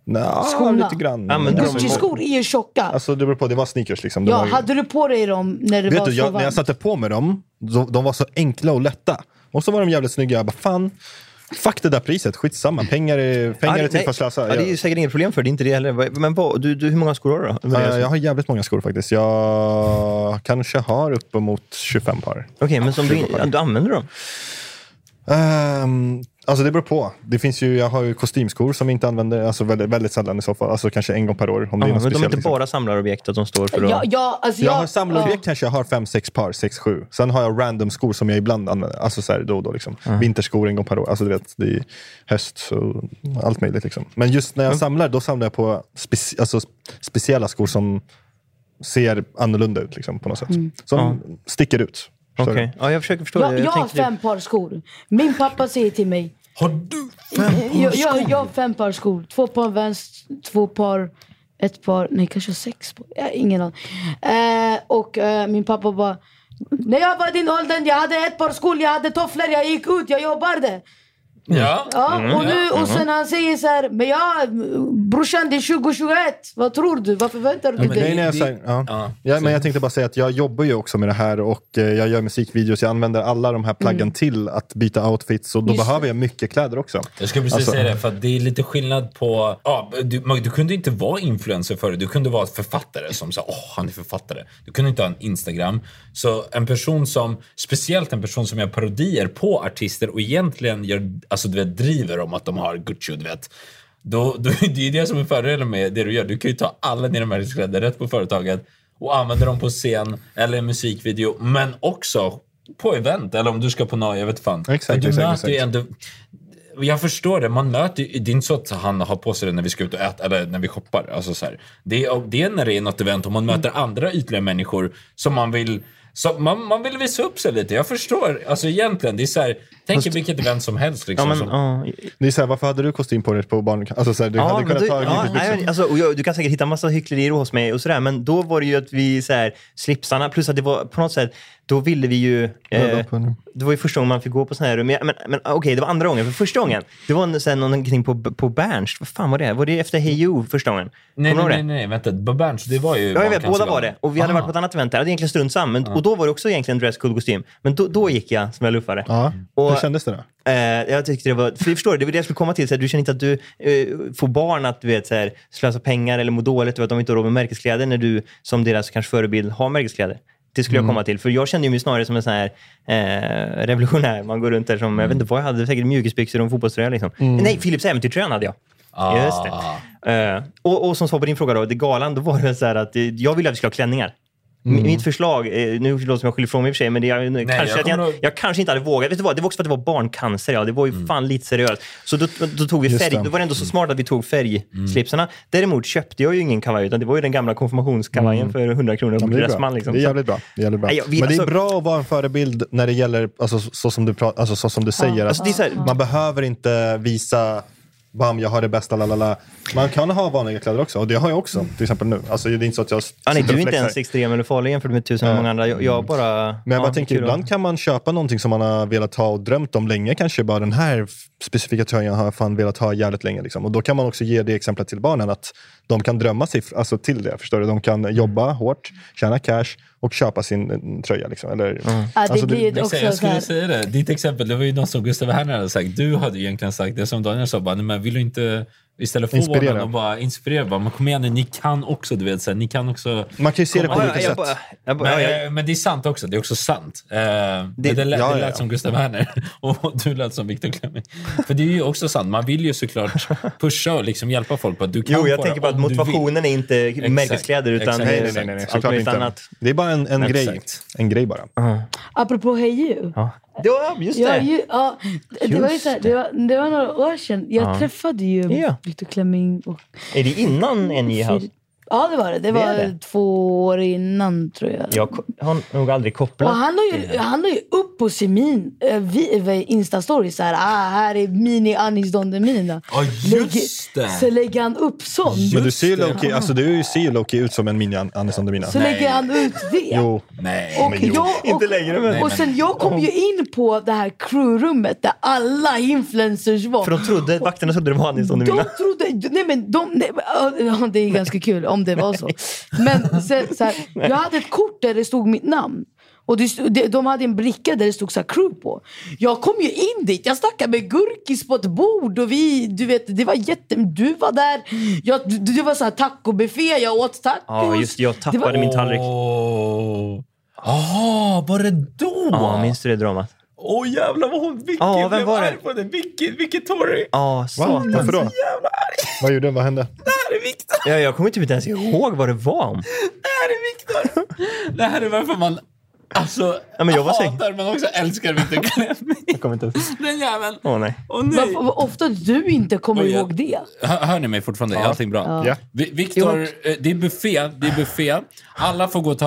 Speaker 3: Nå,
Speaker 4: Skorna.
Speaker 3: lite grann.
Speaker 2: Använder de i-
Speaker 4: Gucci-skor är tjocka.
Speaker 3: Alltså det beror på, det var sneakers liksom. De
Speaker 4: ja,
Speaker 3: var,
Speaker 4: hade du på dig dem när det
Speaker 3: vet
Speaker 4: var
Speaker 3: du,
Speaker 4: så
Speaker 3: jag, när jag
Speaker 4: varmt?
Speaker 3: satte på mig dem, så, de var så enkla och lätta. Och så var de jävligt snygga. Jag bara, fan, fuck det där priset, skitsamma. Pengar är, pengar är till
Speaker 2: nej.
Speaker 3: för att slösa.
Speaker 2: Ja, det är ju
Speaker 3: jag,
Speaker 2: säkert inget problem för det, inte det heller. Vad- Men vad, du, du, hur många skor har du då? Vad är det
Speaker 3: Eh,
Speaker 2: som-
Speaker 3: jag har jävligt många skor faktiskt. Jag kanske har uppemot 25 par.
Speaker 2: Okej, men som du, ja, du använder dem?
Speaker 3: Ehm, alltså det beror på. Det finns ju, jag har ju kostymskor som jag inte använder, alltså väldigt, väldigt sällan i så fall. Alltså kanske en gång per år. Om det
Speaker 2: Ja, men
Speaker 3: är något
Speaker 2: de är
Speaker 3: speciellt,
Speaker 2: inte
Speaker 3: liksom.
Speaker 2: bara samlarobjekt att de står för att...
Speaker 4: Ja, ja, alltså
Speaker 3: Jag
Speaker 4: jag-
Speaker 3: har samlarobjekt
Speaker 4: ja.
Speaker 3: kanske, jag har fem, sex par, sex, sju. Sen har jag random skor som jag ibland använder, alltså så här då och då. Liksom. Vinterskor en gång per år, alltså du vet, det är höst så allt möjligt. Liksom. Men just när jag samlar, då samlar jag på speci- alltså, speciella skor som ser annorlunda ut liksom, på något sätt. Som sticker ut.
Speaker 2: Mm. Okej.
Speaker 3: Förstår du?
Speaker 2: ja, jag försöker förstå.
Speaker 4: Jag,
Speaker 2: det.
Speaker 4: jag har
Speaker 2: tänkte typ-
Speaker 4: fem par skor. Min pappa säger till mig.
Speaker 1: Har du?
Speaker 4: Jag, jag, jag har fem par skor. Två par vänster, två par, ett par, nej kanske sex par. Jag har ingen aning. Eh, och eh, min pappa bara. När jag var din ålder, jag hade ett par skor, jag hade tofflor, jag gick ut, jag jobbade.
Speaker 1: Ja.
Speaker 4: Ja, och, nu, och sen han säger så här, men jag, brorsan det är 2021, vad tror du? Vad förväntar du
Speaker 1: men
Speaker 4: dig?
Speaker 3: Nej, nej,
Speaker 1: Det-
Speaker 3: alltså, ja.
Speaker 1: ja.
Speaker 3: Ja, men jag tänkte bara säga att jag jobbar ju också med det här och eh, jag gör musikvideos. Jag använder alla de här plaggen
Speaker 2: Mm.
Speaker 3: till att byta outfits och då
Speaker 4: Just det.
Speaker 3: behöver jag mycket kläder också.
Speaker 1: Jag skulle precis
Speaker 3: Alltså-
Speaker 1: säga det, för att det är lite skillnad på... Ja, du, man- du kunde inte vara influencer förut. Du kunde vara författare som sa åh, han är författare. Du kunde inte ha en Instagram. Så en person som, speciellt en person som gör parodier på artister och egentligen gör, alltså, du vet, driver om att de har Gucci och du vet. Då, då, det är ju det som är fördelen med det du gör. Du kan ju ta alla dina märkeskläder rätt på företaget och använda dem på scen eller en musikvideo, men också på event eller om du ska på något, jag vet fan.
Speaker 3: Exakt,
Speaker 1: För du
Speaker 3: exakt,
Speaker 1: möter ju
Speaker 3: exakt.
Speaker 1: ändå jag förstår det. Man möter ju- Det är inte så att han har på sig det när vi ska ut och äta eller när vi shoppar. Alltså så här. Det, är, det är när det är något event och man möter
Speaker 2: Mm.
Speaker 1: andra ytliga människor som man vill som man, man vill visa upp sig lite. Jag förstår. Alltså egentligen, det är så här, tänk er vilket event som helst.
Speaker 2: Ja,
Speaker 1: Liksom,
Speaker 2: men,
Speaker 1: som,
Speaker 2: ja.
Speaker 3: Det är så här, varför hade du kostym på dig på barn... Alltså, så här, du hade
Speaker 2: men
Speaker 3: kunnat
Speaker 2: du,
Speaker 3: ta liksom.
Speaker 2: ja,
Speaker 3: ja,
Speaker 2: nej, men alltså, och jag, du kan säkert hitta massa hycklerier hos mig och sådär, men då var det ju att vi så här, slipsarna, plus att det var på något sätt, då ville vi ju... Eh, det var ju första gången man fick gå på sådana här rum. Men, men, men okej, det var andra gången. För första gången, det var en, så här, någonting på, på Berns. Vad fan var det? Var det efter Hey You första gången?
Speaker 1: nej,
Speaker 2: Kommer
Speaker 1: nej,
Speaker 2: du ihåg
Speaker 1: nej,
Speaker 2: det?
Speaker 1: nej, vänta. Berns, det var ju
Speaker 2: Ja, jag vet.
Speaker 1: Barncancergalan.
Speaker 2: Båda var det. Och vi hade varit på ett annat event där. Det är egentligen strunt samma. Men, Och då var det också egentligen dresscode kostym. Men då, då gick jag som jag luffare.
Speaker 3: Ja.
Speaker 2: Och-
Speaker 3: Hur kändes det då?
Speaker 2: Eh, jag tyckte det var... För jag förstår, det, det var det jag skulle komma till. Så här, du känner inte att du eh, får barn att du vet, så här, slösa pengar eller må dåligt över att de inte har råd med märkeskläder när du som deras kanske förebild har märkeskläder. Det skulle jag komma till. För jag kände ju mig snarare som en sån här eh, revolutionär. Man går runt där som, jag vet inte vad jag hade, säkert mjukisbyxor och en fotbollströja. Liksom. Nej, Philips äventyrströjan hade jag.
Speaker 1: Ah.
Speaker 2: Just det. Eh, och, och som svar på din fråga, då, det galan, då var det så här att eh, jag ville att vi skulle ha klänningar. M- Mitt förslag, eh, nu låter det som jag skyller ifrån mig i och för sig, men det, jag, kanske
Speaker 1: jag
Speaker 2: att jag,
Speaker 1: kommer
Speaker 2: jag,
Speaker 1: att-
Speaker 2: kanske inte hade vågat. Vet du vad? Det var också för att det var barncancer. Ja. Det var ju fan lite seriöst. Så då, då tog vi
Speaker 3: Mm. Just
Speaker 2: färg.
Speaker 3: det. Mm.
Speaker 2: Då var det ändå så smart att vi tog färgslipsarna. Däremot köpte jag ju ingen kavaj, utan det var ju den gamla konfirmationskavajen för 100 kronor på
Speaker 3: Mm. Men det, är bra.
Speaker 2: Dressman. Liksom.
Speaker 3: det är
Speaker 2: Så-
Speaker 3: jävligt bra. Det är, jävligt bra.
Speaker 2: Nej, jag vet,
Speaker 3: men det är
Speaker 2: alltså-
Speaker 3: bra att vara en förebild när det gäller, alltså, så, så, som, du pra- alltså, så som du säger. Att
Speaker 2: Alltså, det är så här-
Speaker 3: Man behöver inte visa Bam, jag har det bästa, lalala. Man kan ha vanliga kläder också, och det har jag också. Till exempel nu. Alltså, det är inte så att jag
Speaker 2: Ja, nej,
Speaker 3: sitter
Speaker 2: du
Speaker 3: och
Speaker 2: är inte
Speaker 3: flexar.
Speaker 2: ens extrem eller farlig jämfört med tusen många andra. Jag, jag bara...
Speaker 3: Mm. Men jag
Speaker 2: ja,
Speaker 3: bara tänker,
Speaker 2: kul att-
Speaker 3: ibland kan man köpa någonting som man har velat ha och drömt om länge. Kanske bara den här f- specifika tröjan har jag fan velat ha jävligt länge. Liksom. Och då kan man också ge det exemplet till barnen att de kan drömma sig fr- alltså, till det. Förstår du? De kan jobba hårt, tjäna cash och köpa sin eh, tröja. Liksom. Eller,
Speaker 4: Ja, det
Speaker 3: Alltså, det-
Speaker 4: blir det,
Speaker 1: Exakt,
Speaker 4: också
Speaker 1: jag
Speaker 4: så
Speaker 1: skulle
Speaker 4: här.
Speaker 1: säga det. Ditt exempel, det var ju något som Gustav Herner hade sagt. Du hade ju egentligen sagt det som Daniel sa, bara, nej, men vill du inte istället få
Speaker 3: Inspirera.
Speaker 1: honom och bara inspirera, bara, men kom igen nu, ni kan också, du vet, så här, ni kan också
Speaker 3: Man kan ju se det på
Speaker 2: Ja,
Speaker 3: olika
Speaker 2: ja, jag
Speaker 3: sätt.
Speaker 2: bara- jag bara-
Speaker 1: Men,
Speaker 2: ja, jag-
Speaker 1: eh, men det är sant också. Det är också sant. Eh, men det, lät, det
Speaker 3: ja, ja,
Speaker 1: lät
Speaker 3: ja.
Speaker 1: som Gustav Werner och du lät som Viktor Klemming. För det är ju också sant. Man vill ju såklart pusha och liksom hjälpa folk på att du kan
Speaker 2: Jo, jag
Speaker 1: få
Speaker 2: tänker
Speaker 1: det
Speaker 2: bara att
Speaker 1: om du vill.
Speaker 2: motivationen är inte märkeskläder utan
Speaker 1: exakt.
Speaker 3: Nej, nej, nej, nej, nej.
Speaker 2: allt
Speaker 3: Såklart
Speaker 2: möjligt
Speaker 3: inte.
Speaker 2: annat.
Speaker 3: Det är bara en, en grej.
Speaker 1: Exakt.
Speaker 3: En grej bara.
Speaker 4: Apropå Hey You.
Speaker 2: Ja, just
Speaker 4: Ja,
Speaker 2: det.
Speaker 4: ju, ja, det, det, var ju
Speaker 2: Just
Speaker 4: så här, det, var, det var några år sedan. Jag träffade ju
Speaker 2: Ja.
Speaker 4: Victor Klemming och
Speaker 2: Är det innan NJ House?
Speaker 4: Fir- Ja, det var det. Det var
Speaker 2: är det.
Speaker 4: två år innan, tror jag.
Speaker 2: Jag ko- har nog aldrig
Speaker 4: Och
Speaker 2: kopplat.
Speaker 4: han la ju, han la ju upp på sin min, eh, vi- eh, Insta-story så här, ah, här är mini Anis Don Demina.
Speaker 1: Ja, just det.
Speaker 4: Så lägger han upp sånt.
Speaker 3: Men du ser ju
Speaker 1: Just det.
Speaker 3: Loki, alltså du ser ju Loki ut som en mini Anderson Demina.
Speaker 4: Så lägger han ut det.
Speaker 3: Jo.
Speaker 1: Nej.
Speaker 4: Och,
Speaker 3: jo.
Speaker 4: jag, och,
Speaker 2: Inte längre, men-
Speaker 4: och sen jag kom ju in på det här crewrummet där alla influencers var.
Speaker 2: För de trodde, vakterna trodde det var Anderson
Speaker 4: De
Speaker 2: Demina.
Speaker 4: trodde... Nej men de, nej, men, ja, det är ganska kul om det var så. Men sen, så här, jag hade ett kort där det stod mitt namn. Och det, stod- det, de hade en bricka där det stod så här, crew på. Jag kom ju in dit, jag snackade med Gurkis på ett bord och vi, du vet, det var jätte... Du var där, jag, det det var så här tacobuffé, jag åt tacos.
Speaker 2: Ja, just det. Jag
Speaker 4: Det var-
Speaker 2: tappade min tallrik.
Speaker 1: Åh. Jaha, var det då?
Speaker 2: Ja, minns du det dramat?
Speaker 1: Åh jävlar vad hon... Vicky
Speaker 2: Ja, vem
Speaker 1: blev
Speaker 2: var det?
Speaker 1: arg på det. Vicky, Vicky Torrey.
Speaker 2: Ja,
Speaker 3: Va?
Speaker 2: satan.
Speaker 3: Varför då?
Speaker 1: Jävla arg.
Speaker 3: Vad gjorde Vad hände?
Speaker 1: Det här är Viktor.
Speaker 2: Ja, jag kommer typ inte ens ihåg vad det var om.
Speaker 1: Det här är Viktor. Det här är varför man... Alltså,
Speaker 2: Ja, men jag var säker.
Speaker 1: hatar men också älskar Viktor Klemming.
Speaker 2: Jag kommer inte ens...
Speaker 1: Den jäveln.
Speaker 2: Åh nej.
Speaker 1: Åh nej.
Speaker 4: Varför- Vad ofta du inte kommer
Speaker 6: Oh,
Speaker 1: Oj, ja.
Speaker 4: ihåg det.
Speaker 1: Hör, hör ni mig fortfarande? Är allting bra?
Speaker 3: Ja.
Speaker 1: Vi- Viktor, eh, det är buffé. Det är buffé. Alla får gå och ta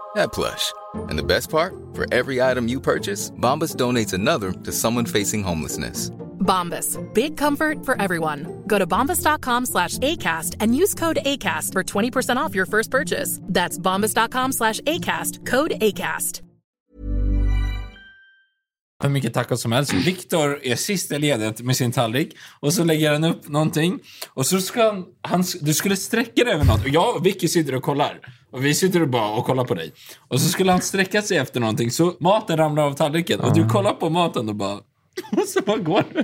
Speaker 7: that plush. And the best part? For every item you purchase, Bombas donates another to someone facing homelessness.
Speaker 8: Bombas. Big comfort for everyone. Go to bombas.com slash ACAST and use code ACAST for 20% off your first purchase. That's bombas.com slash ACAST. Code ACAST.
Speaker 1: hur mycket tacos som helst. Viktor är sist i ledet med sin tallrik och så lägger han upp någonting och så ska han, han du skulle sträcka dig över något och jag och Vicky sitter och kollar och vi sitter och bara och kollar på dig och så skulle han sträcka sig efter någonting så maten ramlar av tallriken och du kollar på maten och bara och så bara går du.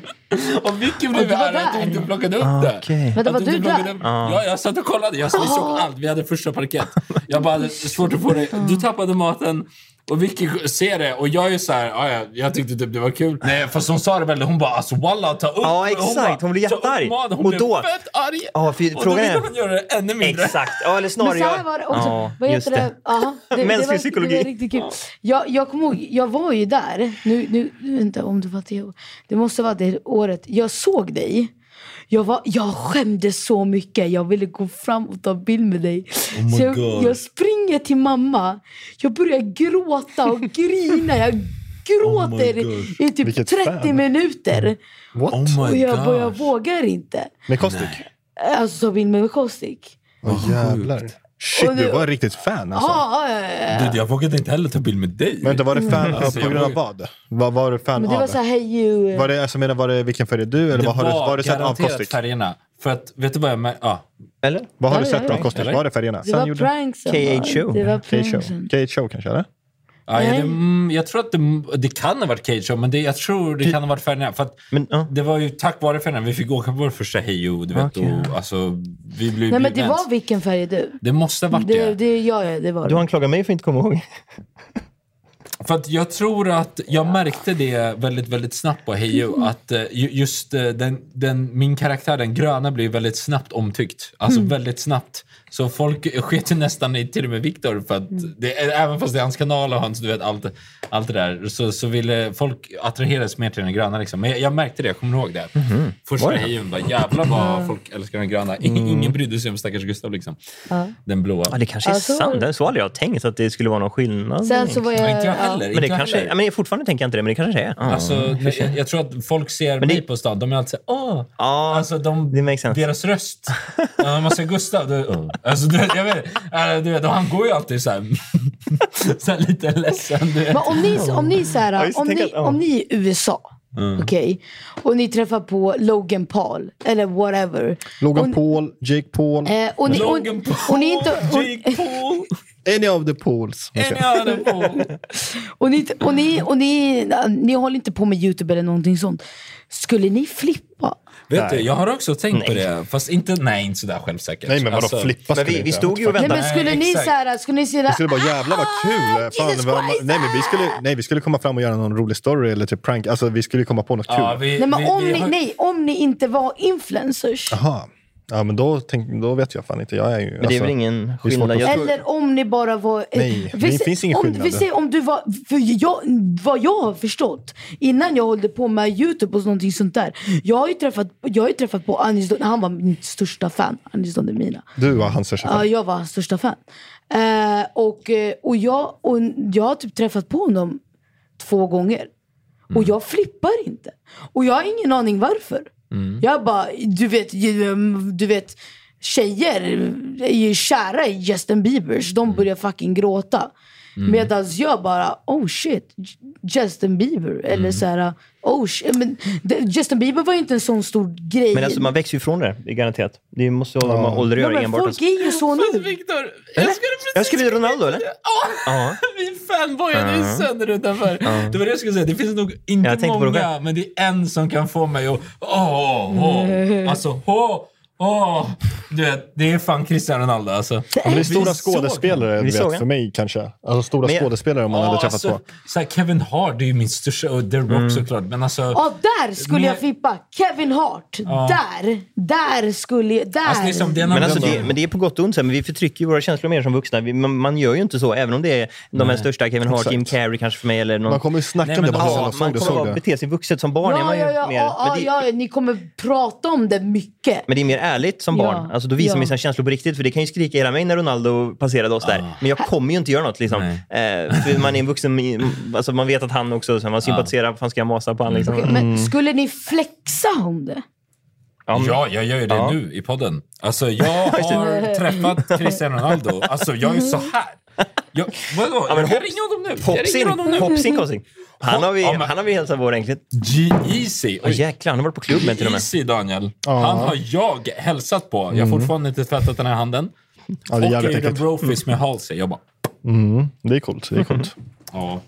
Speaker 1: Och Vicky
Speaker 4: Och
Speaker 1: blev
Speaker 4: du var
Speaker 1: arg att du
Speaker 4: där?
Speaker 1: inte plockade upp det.
Speaker 2: okej.
Speaker 4: Vänta,
Speaker 1: Att
Speaker 4: var
Speaker 1: inte
Speaker 4: du
Speaker 1: plockade
Speaker 4: där?
Speaker 1: upp- Ja, jag satt och kollade. Jag vi såg allt. Vi hade första parkett. Jag bara hade svårt att få det. Du tappade maten. Och Vicky ser det och jag är så här, "Ja, ja, jag tyckte typ det var kul. Nej, fast hon sa det väl, hon bara alltså walla ta upp.
Speaker 2: Ja, exakt. Hon blev
Speaker 1: "Ta upp
Speaker 2: jättearg."
Speaker 1: maten." Hon
Speaker 2: Och
Speaker 1: blev
Speaker 2: då-
Speaker 1: fett arg.
Speaker 2: Ja, för
Speaker 1: och då
Speaker 2: frågan
Speaker 1: ville
Speaker 2: är-
Speaker 1: hon göra det ännu mindre.
Speaker 2: Exakt. Ja, eller
Speaker 4: Men
Speaker 2: snarare
Speaker 4: så här
Speaker 2: jag.
Speaker 4: var det också.
Speaker 2: Ja,
Speaker 4: vad
Speaker 2: just
Speaker 4: heter det?
Speaker 2: det.
Speaker 4: Ja, det- det
Speaker 2: Mänsklig
Speaker 4: var-
Speaker 2: psykologi.
Speaker 4: Det var riktigt kul. Jag, jag kommer ihåg, jag var ju där. Nu, nu, nu vet jag inte om det var det år- Det måste vara det året. Jag såg dig. Jag, var, jag skämdes så mycket. Jag ville gå fram och ta bild med dig. så jag,
Speaker 1: God.
Speaker 4: jag springer till mamma. Jag börjar gråta och grina. Jag gråter i typ
Speaker 3: Vilket
Speaker 4: 30
Speaker 3: fan.
Speaker 4: minuter.
Speaker 3: What?
Speaker 1: Oh
Speaker 4: Och
Speaker 1: my
Speaker 4: jag, och jag
Speaker 1: god.
Speaker 4: vågar inte.
Speaker 3: Med Kostik?
Speaker 4: Alltså ta bild med Kostik.
Speaker 3: Åh jävlar.
Speaker 4: Och
Speaker 3: Shit,
Speaker 4: nu-
Speaker 3: du var riktigt fan alltså.
Speaker 4: Ja, ja, ja, ja.
Speaker 1: Du, jag vågade inte heller ta bild med dig.
Speaker 3: Men det var det fan
Speaker 1: Alltså,
Speaker 3: på
Speaker 1: jag
Speaker 3: grund av
Speaker 1: var-
Speaker 3: vad? Vad var du fan
Speaker 4: Men det
Speaker 3: av?
Speaker 4: var så här, hey you.
Speaker 3: var det, alltså, menar, var det vilken färg är du? Eller
Speaker 1: Det
Speaker 3: vad har du, vad har du sett av
Speaker 1: garanterat
Speaker 3: Kostik?
Speaker 1: färgerna. För att, vet du vad jag märkte? Ja,
Speaker 2: Eller?
Speaker 3: Vad har
Speaker 4: Ja,
Speaker 3: du
Speaker 4: det
Speaker 3: sett
Speaker 4: är
Speaker 3: av
Speaker 4: det.
Speaker 3: Kostik?
Speaker 1: Eller?
Speaker 3: Vad är det färgerna?
Speaker 4: Det var pranksen. va?
Speaker 2: KHO.
Speaker 4: Det var
Speaker 3: K-show.
Speaker 4: pranksen.
Speaker 3: K-show kanske eller?
Speaker 1: Ja, ja,
Speaker 4: Nej.
Speaker 1: det, mm, jag tror att det, det kan ha varit Cage Show, men det, jag tror det kan ha varit färgerna. För att
Speaker 2: Men, ja.
Speaker 1: Det var ju tack vare färgerna vi fick åka på vår första Heyo. Du vet, och, alltså, vi blev
Speaker 4: Nej men det
Speaker 1: bjudna ens.
Speaker 4: var vilken färg är du?
Speaker 1: det måste ha varit det.
Speaker 4: Det, det, ja, ja, det var
Speaker 2: Du
Speaker 4: det.
Speaker 2: anklagar mig för att inte komma ihåg.
Speaker 1: För att jag tror att jag märkte det väldigt, väldigt snabbt på Heyo. Att eh, ju- just eh, den, den, min karaktär, den gröna, blev väldigt snabbt omtyckt. Alltså väldigt snabbt. Så folk sket ju nästan i till och med Viktor. För att det, eh, även fast det är hans kanal och hans, du vet, allt, allt det där. Så, så ville folk attraheras mer till den gröna liksom. Men jag, jag märkte det, jag kommer ihåg det. Första Heyun bara, jävlar vad folk älskar den gröna. Ingen, ingen brydde sig om stackars Gustav liksom. Den blåa.
Speaker 2: Ja, det kanske är
Speaker 4: Ja, så var
Speaker 2: sant.
Speaker 4: det.
Speaker 2: Det- Så hade jag tänkt att det skulle vara någon skillnad.
Speaker 4: Alltså- Sen så var jag...
Speaker 1: Men inte jag
Speaker 4: ja.
Speaker 1: heller.
Speaker 2: Men det
Speaker 1: inte jag
Speaker 2: kanske...
Speaker 1: heller.
Speaker 2: Ja, men jag fortfarande tänker jag inte det, men det kanske är. Ja.
Speaker 1: Alltså, jag, jag tror att folk ser mig på stan. De är alltid såhär, åh!
Speaker 2: Ja,
Speaker 1: alltså, de,
Speaker 2: det makes sense.
Speaker 1: Deras röst. Ja, När man ser Gustav, då, åh. alltså, du, vet, jag vet, äh, du vet, och han går ju alltid såhär, såhär lite ledsen. Du vet.
Speaker 4: Men om ni, om ni, så här,
Speaker 2: just det,
Speaker 4: om,
Speaker 2: tänk
Speaker 4: ni,
Speaker 2: att- ja.
Speaker 4: om ni är i USA
Speaker 1: Mm.
Speaker 4: Okej? Och ni träffar på Logan Paul, eller whatever.
Speaker 3: Logan Paul, Jake Paul.
Speaker 4: Eh, och, ni, och,
Speaker 3: Logan
Speaker 4: och ni är inte... Och,
Speaker 3: Any of the pools.
Speaker 4: Och, ni, och, ni, och ni, ni håller inte på med YouTube eller någonting sånt. Skulle ni flippa?
Speaker 1: Vet du, jag har också tänkt på det. Fast inte, nej, inte sådär självsäkert. Alltså-
Speaker 3: Nej, men vadå, flippa Alltså, Men vi- skulle vi inte. stod ju och
Speaker 4: Nej, men skulle ni
Speaker 1: exakt.
Speaker 4: så här, skulle ni säga
Speaker 3: Vi skulle bara jävlar
Speaker 4: Ah,
Speaker 3: vad kul! Fan, vad, nej, men vi skulle, nej, vi skulle komma fram och göra någon rolig story eller typ prank. Alltså, vi skulle komma på något
Speaker 1: Ja,
Speaker 3: kul.
Speaker 1: vi-
Speaker 4: Nej, men
Speaker 1: vi-
Speaker 4: om,
Speaker 1: vi
Speaker 4: ni,
Speaker 1: har-
Speaker 4: nej, om ni inte var influencers.
Speaker 3: Jaha. Ja, men då, tänk, då vet jag fan inte. Jag är ju, alltså, men
Speaker 2: det är väl ingen skillnad. Jag tror-
Speaker 4: Eller om ni bara var...
Speaker 3: Nej,
Speaker 4: vi
Speaker 3: det
Speaker 4: se-
Speaker 3: finns ingen
Speaker 4: om,
Speaker 3: skillnad.
Speaker 4: Vi säger om du var... För jag, vad jag har förstått, innan jag hållde på med YouTube och någonting sånt där. Jag har ju träffat, jag har ju träffat på Anis Don, han var min största fan. Anis Don Demina.
Speaker 3: Du var hans största
Speaker 4: Ja,
Speaker 3: fan.
Speaker 4: jag var hans största fan. Eh, och, eh, och, jag, och jag har typ träffat på honom två gånger. Och
Speaker 2: Mm.
Speaker 4: jag flippar inte. Och jag har ingen aning varför.
Speaker 2: Mm.
Speaker 4: Jag bara, du vet, ju, mm, du vet tjejer är ju kära i Justin Biebers.
Speaker 2: Mm.
Speaker 4: De börjar fucking gråta.
Speaker 9: Mm.
Speaker 4: Medan jag bara, oh shit, J- Justin Bieber.
Speaker 2: Mm.
Speaker 4: Eller så här, oh shit. Men, det- Justin Bieber var ju inte en sån stor grej.
Speaker 2: Men alltså, man växer ju ifrån det, det är garanterat. Det måste ju ha med ålder att
Speaker 4: Ja,
Speaker 2: göra
Speaker 4: men
Speaker 2: enbart.
Speaker 4: folk
Speaker 2: alltså.
Speaker 4: är ju så nu.
Speaker 2: Eller? Jag skulle bli Ronaldo, eller? Ja.
Speaker 1: Vi fanboyade ju
Speaker 2: Ja.
Speaker 1: sönder utanför.
Speaker 2: Ja.
Speaker 1: Det var det jag skulle säga. Det finns nog inte
Speaker 2: Jag tänkte på det
Speaker 1: många,
Speaker 2: själv.
Speaker 1: men det är en som kan få mig att... Åh,
Speaker 2: Mm.
Speaker 1: åh. Alltså, åh, åh. Du vet, det är fan Cristiano Ronaldo alltså.
Speaker 3: Ja, men det är stora
Speaker 1: Vi såg honom.
Speaker 3: skådespelare du vet, för mig kanske. Alltså stora
Speaker 1: Men jag-
Speaker 3: skådespelare man hade
Speaker 1: Ja,
Speaker 3: träffat
Speaker 1: alltså,
Speaker 3: på.
Speaker 1: Så här, Kevin Hart det är ju min största, och The Rock
Speaker 3: Mm.
Speaker 1: såklart. Men alltså,
Speaker 4: Ja, där skulle
Speaker 1: mer-
Speaker 4: jag flippa. Kevin Hart.
Speaker 1: Ja.
Speaker 4: Där. Där skulle jag... Där.
Speaker 2: men, alltså, det, men det är på gott och ont, så här, men vi förtrycker ju våra känslor mer som vuxna. Vi, man, man gör ju inte så, även om det är de här
Speaker 3: Nej.
Speaker 2: största, Kevin Hart,
Speaker 3: Exakt.
Speaker 2: Jim Carrey kanske för mig. Eller någon...
Speaker 3: Man kommer ju snacka om det bara,
Speaker 2: ja,
Speaker 3: "Såg
Speaker 2: Man
Speaker 3: det, såg det,
Speaker 2: kommer
Speaker 3: såg
Speaker 2: bara
Speaker 3: det."
Speaker 2: bete sig vuxet som barn. är
Speaker 4: ja,
Speaker 2: man ju
Speaker 4: ja, ja,
Speaker 2: mer.
Speaker 4: ja,
Speaker 2: men, det,
Speaker 4: ja, ja, ni kommer prata om det mycket.
Speaker 2: men det är mer ärligt som
Speaker 4: Ja,
Speaker 2: barn. Alltså, då visar
Speaker 4: ja.
Speaker 2: man ju sina känslor på riktigt. För det kan ju skrika hela mig när Ronaldo passerade oss där.
Speaker 3: Ah.
Speaker 2: Men jag kommer ju inte göra något. Liksom. Eh, för man är en vuxen... Alltså, man vet att han också... Så här, man sympatiserar.
Speaker 3: Ah.
Speaker 2: Vad fan ska jag masa på honom? Liksom.
Speaker 4: Okej, Men skulle ni flexa om det?
Speaker 1: Ja, jag gör ju det
Speaker 2: Ja. Mm.
Speaker 1: nu i podden. Alltså, jag har träffat Cristiano Ronaldo. Alltså, jag är ju så här. Jag, vadå?
Speaker 2: Ja, men
Speaker 1: jag
Speaker 2: hopp-
Speaker 1: kan ringa honom nu. Jag
Speaker 2: Hops
Speaker 1: ringer
Speaker 2: in,
Speaker 1: honom nu.
Speaker 2: hops in, hops in. Han har vi, han har vi hälsat på ordentligt.
Speaker 1: G-Easy.
Speaker 2: Åh jäklar, han har varit på klubben till och med.
Speaker 1: Easy, Daniel.
Speaker 2: Ja.
Speaker 1: Han har jag hälsat på. Jag har
Speaker 2: Mm.
Speaker 1: fortfarande inte tvättat den här handen.
Speaker 3: Ja, det är
Speaker 1: och
Speaker 3: jävligt
Speaker 1: Aiden
Speaker 3: äckligt.
Speaker 1: Brofist med Halsey. Jag bara...
Speaker 3: Mm, det är coolt. Det är coolt.
Speaker 1: Ja.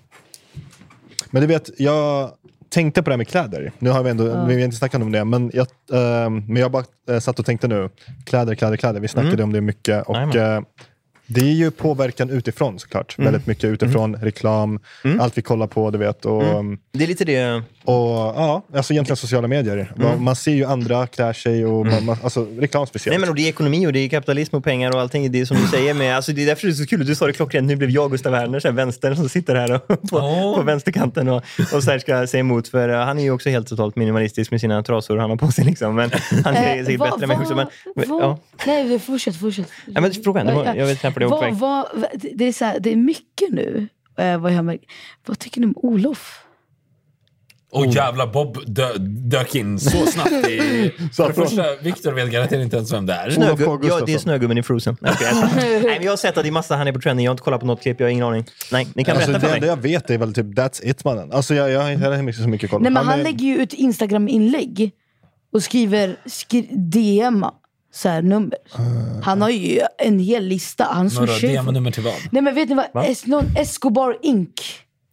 Speaker 3: Men du vet, jag tänkte på det här med kläder. Nu har vi ändå,
Speaker 1: Ja.
Speaker 3: vi har inte snackat om det, men jag, eh, men jag bara eh, satt och tänkte nu. Kläder, kläder, kläder. Vi snackade
Speaker 2: Mm.
Speaker 3: om det mycket. Och,
Speaker 2: Jajamän.
Speaker 3: eh, det är ju påverkan utifrån såklart.
Speaker 2: Mm.
Speaker 3: Väldigt mycket utifrån, reklam, allt vi kollar på, du vet. Och,
Speaker 2: Mm. Det är lite det...
Speaker 3: Och, ja, alltså egentligen sociala medier. Man- Man ser ju andra klär sig och man, man, alltså, reklam speciellt.
Speaker 2: Nej, men och det är ekonomi och det är kapitalism och pengar och allting. Det är som du säger. Med, alltså, det är därför det är så kul. Du sa det klockrent. Nu blev jag Gustav Werner, så här, vänstern som sitter här och, på, på vänsterkanten och, och så här ska säga emot. För eh, han är ju också helt totalt minimalistisk med sina trasor han har på sig. Liksom. Men han är
Speaker 4: Eh,
Speaker 2: säkert
Speaker 4: vad-
Speaker 2: bättre än mig
Speaker 4: vad-
Speaker 2: också. Men, men,
Speaker 4: vad-
Speaker 2: ja.
Speaker 4: Nej, vi- fortsätt, fortsätt.
Speaker 2: Ja, men fråga henne. Det var- jag vet inte på det var på
Speaker 4: vad,
Speaker 2: väg.
Speaker 4: vad, det- det, är så här, det är mycket nu. Eh, vad, jag märker. vad tycker ni om Olof?
Speaker 1: Och
Speaker 2: Oh.
Speaker 1: jävla Bob dö, dök in så snabbt. I,
Speaker 2: Så
Speaker 1: för det
Speaker 2: bra.
Speaker 1: första, Victor vet garanterat inte ens vem det är.
Speaker 2: Snögub- ja, det är snögubben i Frozen. Nej, jag skojar. Nej, men jag har sett att det är massa han är på trending. Jag har inte kollat på något klipp. Jag har ingen aning. Nej, ni kan
Speaker 3: alltså,
Speaker 2: berätta
Speaker 3: det
Speaker 2: för
Speaker 3: enda
Speaker 2: mig.
Speaker 3: jag vet är väl typ that's it mannen. Alltså, jag, jag har inte heller så mycket koll.
Speaker 4: Nej, men han,
Speaker 3: är-
Speaker 4: lägger ju ut Instagram-inlägg och skriver skri DM så här, nummer.
Speaker 3: Ah,
Speaker 4: Han har ju en hel lista. Han
Speaker 1: Några
Speaker 4: swishar ju folk.
Speaker 1: DM-nummer till vad?
Speaker 4: Nej men vet ni vad? Es, någon Escobar Inc.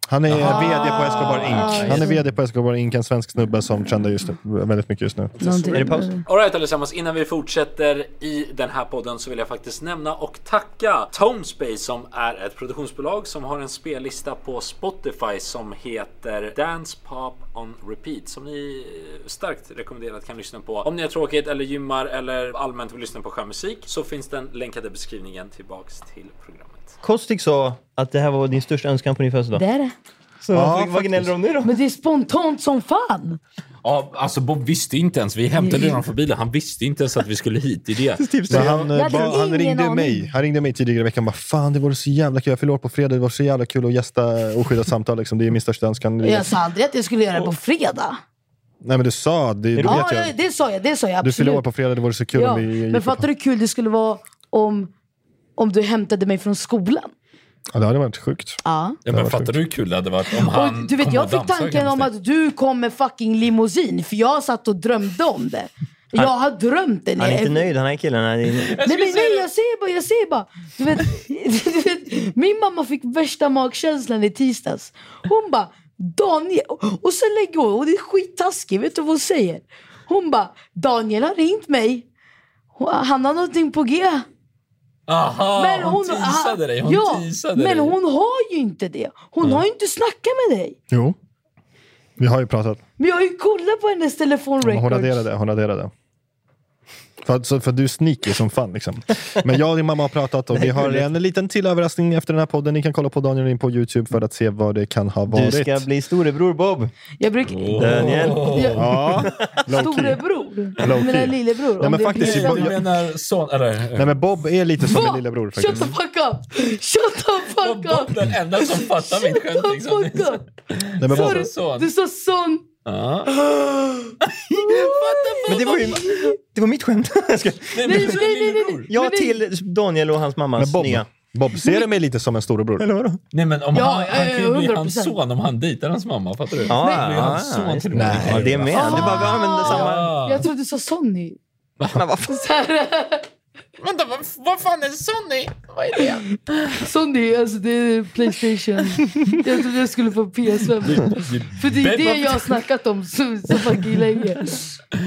Speaker 3: Han är
Speaker 1: Jaha.
Speaker 3: vd på Escobar
Speaker 4: Ah,
Speaker 3: Inc. Han är vd på Escobar Inc. En svensk snubbe som trendar just nu, väldigt mycket just nu.
Speaker 4: Mm.
Speaker 1: Alright allesammans, innan vi fortsätter i den här podden så vill jag faktiskt nämna och tacka Tonespace som är ett produktionsbolag som har en spellista på Spotify som heter Dance Pop on Repeat som ni eh, starkt rekommenderat kan lyssna på. Om ni har tråkigt eller gymmar eller allmänt vill lyssna på skön musik så finns den länkad i beskrivningen tillbaks till programmet.
Speaker 2: Kostik sa att det här var din största önskan på din födelsedag.
Speaker 4: Det är det.
Speaker 2: Så vad- vad gnäller de nu då?
Speaker 4: Men det är spontant som fan.
Speaker 1: Ja, alltså Bob visste inte ens. Vi hämtade honom från bilen. Han visste inte ens att vi skulle hit. i det.
Speaker 2: Typ
Speaker 3: Men han,
Speaker 4: Jag
Speaker 3: eh,
Speaker 4: hade
Speaker 3: ba, han,
Speaker 4: ingen
Speaker 3: ringde
Speaker 4: aning.
Speaker 3: mig, han ringde mig tidigare i veckan och bara “Fan, det vore så jävla kul. Jag fyller år på fredag. Det vore så jävla kul att gästa Oskyddat samtal. Liksom. Det är min största önskan.”
Speaker 4: Jag sa aldrig att jag skulle göra det på fredag.
Speaker 3: Nej, men du sa det. Du
Speaker 4: Ja,
Speaker 3: vet ju.
Speaker 4: ja, det sa jag. Det sa jag
Speaker 3: Du
Speaker 4: absolut.
Speaker 3: fyller år på fredag. Det vore så kul
Speaker 4: ja.
Speaker 3: om vi...
Speaker 4: Men fattar du hur kul det skulle vara om, om du hämtade mig från skolan?
Speaker 3: Ja, det hade varit sjukt.
Speaker 4: Ja.
Speaker 1: Ja,
Speaker 3: Det hade
Speaker 1: men
Speaker 3: varit
Speaker 1: fattar du hur kul det hade varit om han
Speaker 4: Du vet,
Speaker 1: kom
Speaker 4: jag
Speaker 1: och
Speaker 4: fick
Speaker 1: dammsög
Speaker 4: tanken
Speaker 1: hemma hos
Speaker 4: om
Speaker 1: dig?
Speaker 4: att du kom med fucking limousin, för jag satt och drömde om det. Jag har drömt det.
Speaker 2: Han är inte nöjd, han är killen. Han är...
Speaker 4: Nej, men, nej, jag säger bara, jag säger bara. Du vet, du vet, min mamma fick värsta magkänslan i tisdags. Hon bara, Daniel. Och, och sen lägger hon, och det är skittaskigt, vet du vad hon säger? Hon bara, Daniel har ringt mig. Hon- Han har någonting på G.
Speaker 1: Aha,
Speaker 4: Men
Speaker 1: hon,
Speaker 4: hon-
Speaker 1: teasade dig. Hon
Speaker 4: ja,
Speaker 1: teasade
Speaker 4: men
Speaker 1: dig.
Speaker 4: hon har ju inte det. Hon har ju inte snackat med dig.
Speaker 3: Jo. Vi har ju pratat.
Speaker 4: Men jag har ju kollat på hennes telefon
Speaker 3: Men Hon
Speaker 4: records.
Speaker 3: raderade, hon raderade. För, att, så, för att du är sneaky som fan liksom. Men jag och din mamma har pratat och vi har en liten till överraskning efter den här podden. Ni kan kolla på Daniel in på Youtube för att se vad det kan ha
Speaker 2: Du
Speaker 3: varit.
Speaker 2: ska bli storebror Bob.
Speaker 4: Jag brukar...
Speaker 2: Daniel.
Speaker 4: Jag,
Speaker 3: Ja, low-key.
Speaker 4: storebror.
Speaker 3: Low-key.
Speaker 4: Jag menar lillebror.
Speaker 3: Nej,
Speaker 4: om
Speaker 3: men
Speaker 4: det
Speaker 3: faktiskt,
Speaker 4: blir-
Speaker 3: i
Speaker 1: Du
Speaker 3: början-
Speaker 1: menar son... Eller... eh,
Speaker 3: Nej men Bob är lite som
Speaker 4: Va?
Speaker 3: min lillebror
Speaker 4: Shut
Speaker 3: faktiskt.
Speaker 4: the fuck up! Shut the fuck
Speaker 1: Bob,
Speaker 4: up!
Speaker 1: den enda som fattar mitt
Speaker 4: Shut
Speaker 1: skämt.
Speaker 4: the
Speaker 1: Liksom.
Speaker 4: fuck up!
Speaker 3: Nej, men Bob,
Speaker 1: Sorry. son.
Speaker 4: Du sa son.
Speaker 1: Ja.
Speaker 2: Men det var ju det var mitt skämt. Jag ska-
Speaker 1: Nej, men
Speaker 4: Nej,
Speaker 1: du är
Speaker 4: nej, nej, nej.
Speaker 1: lillebror.
Speaker 2: Ja,
Speaker 4: Men det-
Speaker 2: till Daniel och hans mammas
Speaker 3: men Bob,
Speaker 2: nya.
Speaker 3: Bob ser du mig lite som en storebror?
Speaker 2: Eller vadå?
Speaker 1: Nej, men om
Speaker 4: Ja,
Speaker 1: han,
Speaker 4: ja,
Speaker 1: han kan ju
Speaker 4: ja,
Speaker 1: bli hans
Speaker 4: 100%.
Speaker 1: son om han dejtar hans mamma. Fattar du? Ah.
Speaker 2: Ja,
Speaker 1: han blir hans
Speaker 2: ja,
Speaker 1: son
Speaker 2: just
Speaker 1: till
Speaker 2: det.
Speaker 1: och med.
Speaker 2: Ja, det är med. Du bara, vi använder
Speaker 4: Ah.
Speaker 2: samma.
Speaker 1: Ja.
Speaker 4: Jag trodde du sa Sonny.
Speaker 2: Men vad fan?
Speaker 4: Så här,
Speaker 1: Vänta, vad, vad fan är Sonny? Vad är det?
Speaker 4: Sonny, alltså det är Playstation. Jag trodde jag skulle få PS5. För det är det jag har snackat om så, så fucking länge.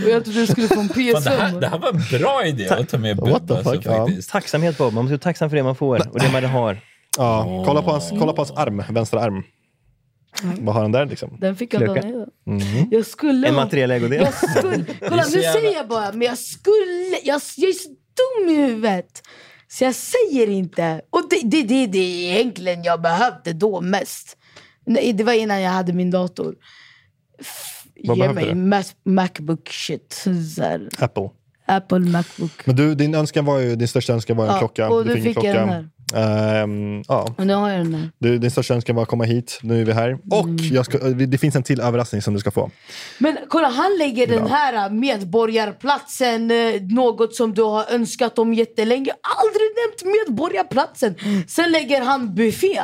Speaker 4: Och jag trodde jag skulle få
Speaker 1: Fan,
Speaker 4: en
Speaker 1: det, här, det
Speaker 4: PS5.
Speaker 1: här var en bra idé att ta med
Speaker 3: What
Speaker 1: Bubba.
Speaker 3: the
Speaker 1: Alltså,
Speaker 3: fuck, ja.
Speaker 1: faktiskt.
Speaker 2: Tacksamhet Bob. Man måste vara tacksam för det man får och det man har.
Speaker 3: Ja, kolla på hans, kolla på hans arm, vänstra arm.
Speaker 4: Mm.
Speaker 3: Vad har han där liksom?
Speaker 4: Den fick jag
Speaker 2: Klöka.
Speaker 4: Daniel.
Speaker 3: Mm.
Speaker 4: Jag skulle
Speaker 2: En
Speaker 4: ha-
Speaker 2: materiell ägodel.
Speaker 4: Jag skulle, kolla, nu säger jag bara, men jag skulle... Jag, jag är så dum i huvudet. Så jag säger inte. Och det det, det, det är egentligen jag behövde då mest. Nej, det var innan jag hade min dator. F-
Speaker 3: Vad
Speaker 4: Ge
Speaker 3: behövde du?
Speaker 4: mig Mac- Macbook shit. Så här,
Speaker 3: Apple.
Speaker 4: Apple Macbook.
Speaker 3: Men du, din, önskan var ju, din största önskan var ju en
Speaker 4: Ja,
Speaker 3: klocka.
Speaker 4: och du
Speaker 3: en
Speaker 4: fick jag
Speaker 3: klocka.
Speaker 4: den här.
Speaker 3: Ehm, ja.
Speaker 4: Och nu har jag den här.
Speaker 3: du, din största önskan var att komma hit. Nu är vi här. Och
Speaker 4: Mm.
Speaker 3: jag ska, det finns en till överraskning som du ska få.
Speaker 4: Men kolla, han lägger den här äh, medborgarplatsen, eh, något som du har önskat om jättelänge. Aldrig nämnt medborgarplatsen.
Speaker 3: Mm.
Speaker 4: Sen lägger han buffé.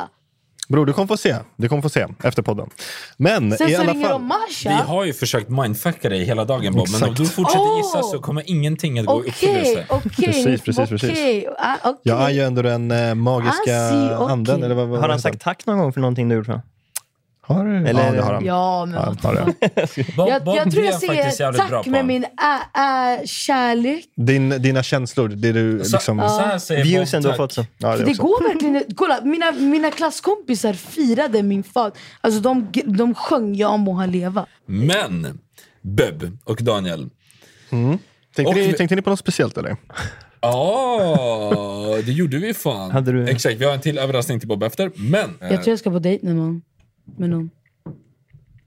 Speaker 3: Bror, du kommer få se. Du kommer få se efter podden. Men
Speaker 4: Sen
Speaker 3: i
Speaker 4: så
Speaker 3: alla
Speaker 4: ringer
Speaker 3: fall.
Speaker 4: de Masha.
Speaker 1: Vi har ju försökt mindfucka dig hela dagen Bob, men om
Speaker 3: Exakt.
Speaker 1: du fortsätter
Speaker 4: Åh!
Speaker 1: gissa så kommer ingenting att gå i
Speaker 4: Okej,
Speaker 1: uppfyllelse.
Speaker 4: okej.
Speaker 3: Precis, precis, precis.
Speaker 4: okej. Ah, okej.
Speaker 3: Jag är ju ändå den eh, magiska
Speaker 4: Ah, si, okej.
Speaker 3: anden. Eller vad, vad
Speaker 2: Har han
Speaker 3: heter
Speaker 2: sagt tack någon gång för någonting du gjort? för honom?
Speaker 3: Har du?
Speaker 2: Eller-
Speaker 3: ja, det har han.
Speaker 4: Ja, men
Speaker 3: Ja, han
Speaker 4: vad
Speaker 3: har det.
Speaker 1: Bob,
Speaker 4: jag,
Speaker 1: Bob,
Speaker 4: jag tror
Speaker 1: det är
Speaker 4: jag
Speaker 1: faktiskt
Speaker 4: säger
Speaker 1: jävligt bra
Speaker 4: tack
Speaker 1: på
Speaker 4: med
Speaker 1: han.
Speaker 4: min äh, äh, kärlek.
Speaker 3: Din, dina känslor, det du
Speaker 1: Så,
Speaker 3: liksom...
Speaker 1: så här säger Bob,
Speaker 2: Viewsen
Speaker 1: tack.
Speaker 2: du har fått så.
Speaker 3: Ja, det
Speaker 4: Det
Speaker 3: också.
Speaker 4: går verkligen Kolla, mina, mina klasskompisar firade min far. Alltså de, de sjöng Jag må han leva.
Speaker 1: Men, Bub och Daniel.
Speaker 3: Tänkte,
Speaker 1: Och
Speaker 3: ni,
Speaker 1: vi-
Speaker 3: tänkte ni på något speciellt eller?
Speaker 1: Ja, det gjorde vi fan.
Speaker 2: Hade du-
Speaker 1: Exakt, vi har en till överraskning till Bob efter. Men, eh,
Speaker 4: Jag tror jag ska på dejt någon gång. Med någon.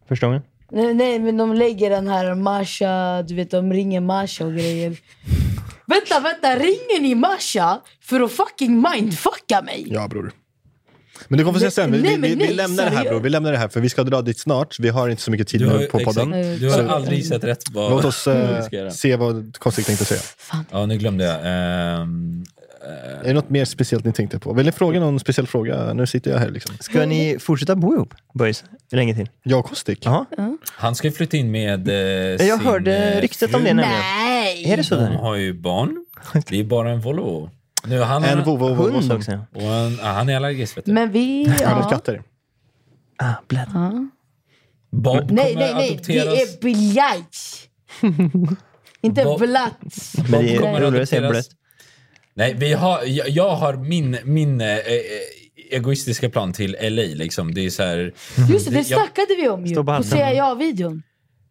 Speaker 2: Första gången?
Speaker 4: Nej, nej, men de lägger den här Masha, du vet de ringer Masha och grejer. vänta, vänta, ringer ni Masha för att fucking mindfucka mig?
Speaker 3: Ja, bror. Men du kommer få se
Speaker 4: Nej,
Speaker 3: sen. Vi,
Speaker 4: nej,
Speaker 3: vi,
Speaker 4: men
Speaker 3: vi
Speaker 4: nej,
Speaker 3: lämnar det här
Speaker 4: seriöst.
Speaker 3: bror. Vi lämnar det här för vi ska dra dit snart. Vi har inte så mycket tid
Speaker 1: du har,
Speaker 3: nu på podden.
Speaker 1: exakt, du har
Speaker 4: Så-
Speaker 1: aldrig sett rätt vad
Speaker 3: Låt oss
Speaker 1: vi
Speaker 3: eh,
Speaker 1: ska göra.
Speaker 3: se vad Konstigt tänkte säga.
Speaker 1: Ja, nu glömde jag. Ehm,
Speaker 3: Är det något mer speciellt ni tänkte på? Vill ni fråga någon speciell fråga? Nu sitter jag här liksom.
Speaker 2: Ska
Speaker 4: Mm.
Speaker 2: ni fortsätta bo ihop, boys? Länge till?
Speaker 3: Jag och Kostik?
Speaker 2: Ja.
Speaker 1: han ska ju flytta in med eh,
Speaker 2: Jag
Speaker 1: sin,
Speaker 2: hörde
Speaker 1: eh,
Speaker 2: ryktet om det nämligen.
Speaker 4: Nej!
Speaker 2: Är det så?
Speaker 1: Hon
Speaker 2: Där?
Speaker 1: har ju barn. Det är bara en Volvo. Nu, han,
Speaker 3: En
Speaker 1: har-
Speaker 3: vovve och vovve
Speaker 2: Hund
Speaker 3: som...
Speaker 2: också? ja.
Speaker 1: och en, ah, han är allergisk vet du.
Speaker 4: Men vi...
Speaker 3: Han
Speaker 4: Ja.
Speaker 3: har katter.
Speaker 2: Ah, blöd.
Speaker 1: Bob kommer
Speaker 4: Nej, nej, nej. Det
Speaker 1: adopteras.
Speaker 4: är blajt. Inte
Speaker 1: Vad-
Speaker 4: blatt.
Speaker 2: Men det
Speaker 1: Bob
Speaker 2: är
Speaker 1: kommer
Speaker 2: roligare att säga
Speaker 1: adopteras.
Speaker 2: blött.
Speaker 1: Nej, vi har, jag, jag har min, min eh, eh, egoistiska plan till LA. Liksom. Det är så här...
Speaker 4: Just det, det
Speaker 1: jag-
Speaker 4: snackade vi om ju.
Speaker 2: Stå på
Speaker 4: På
Speaker 2: handen.
Speaker 4: Säga ja-videon.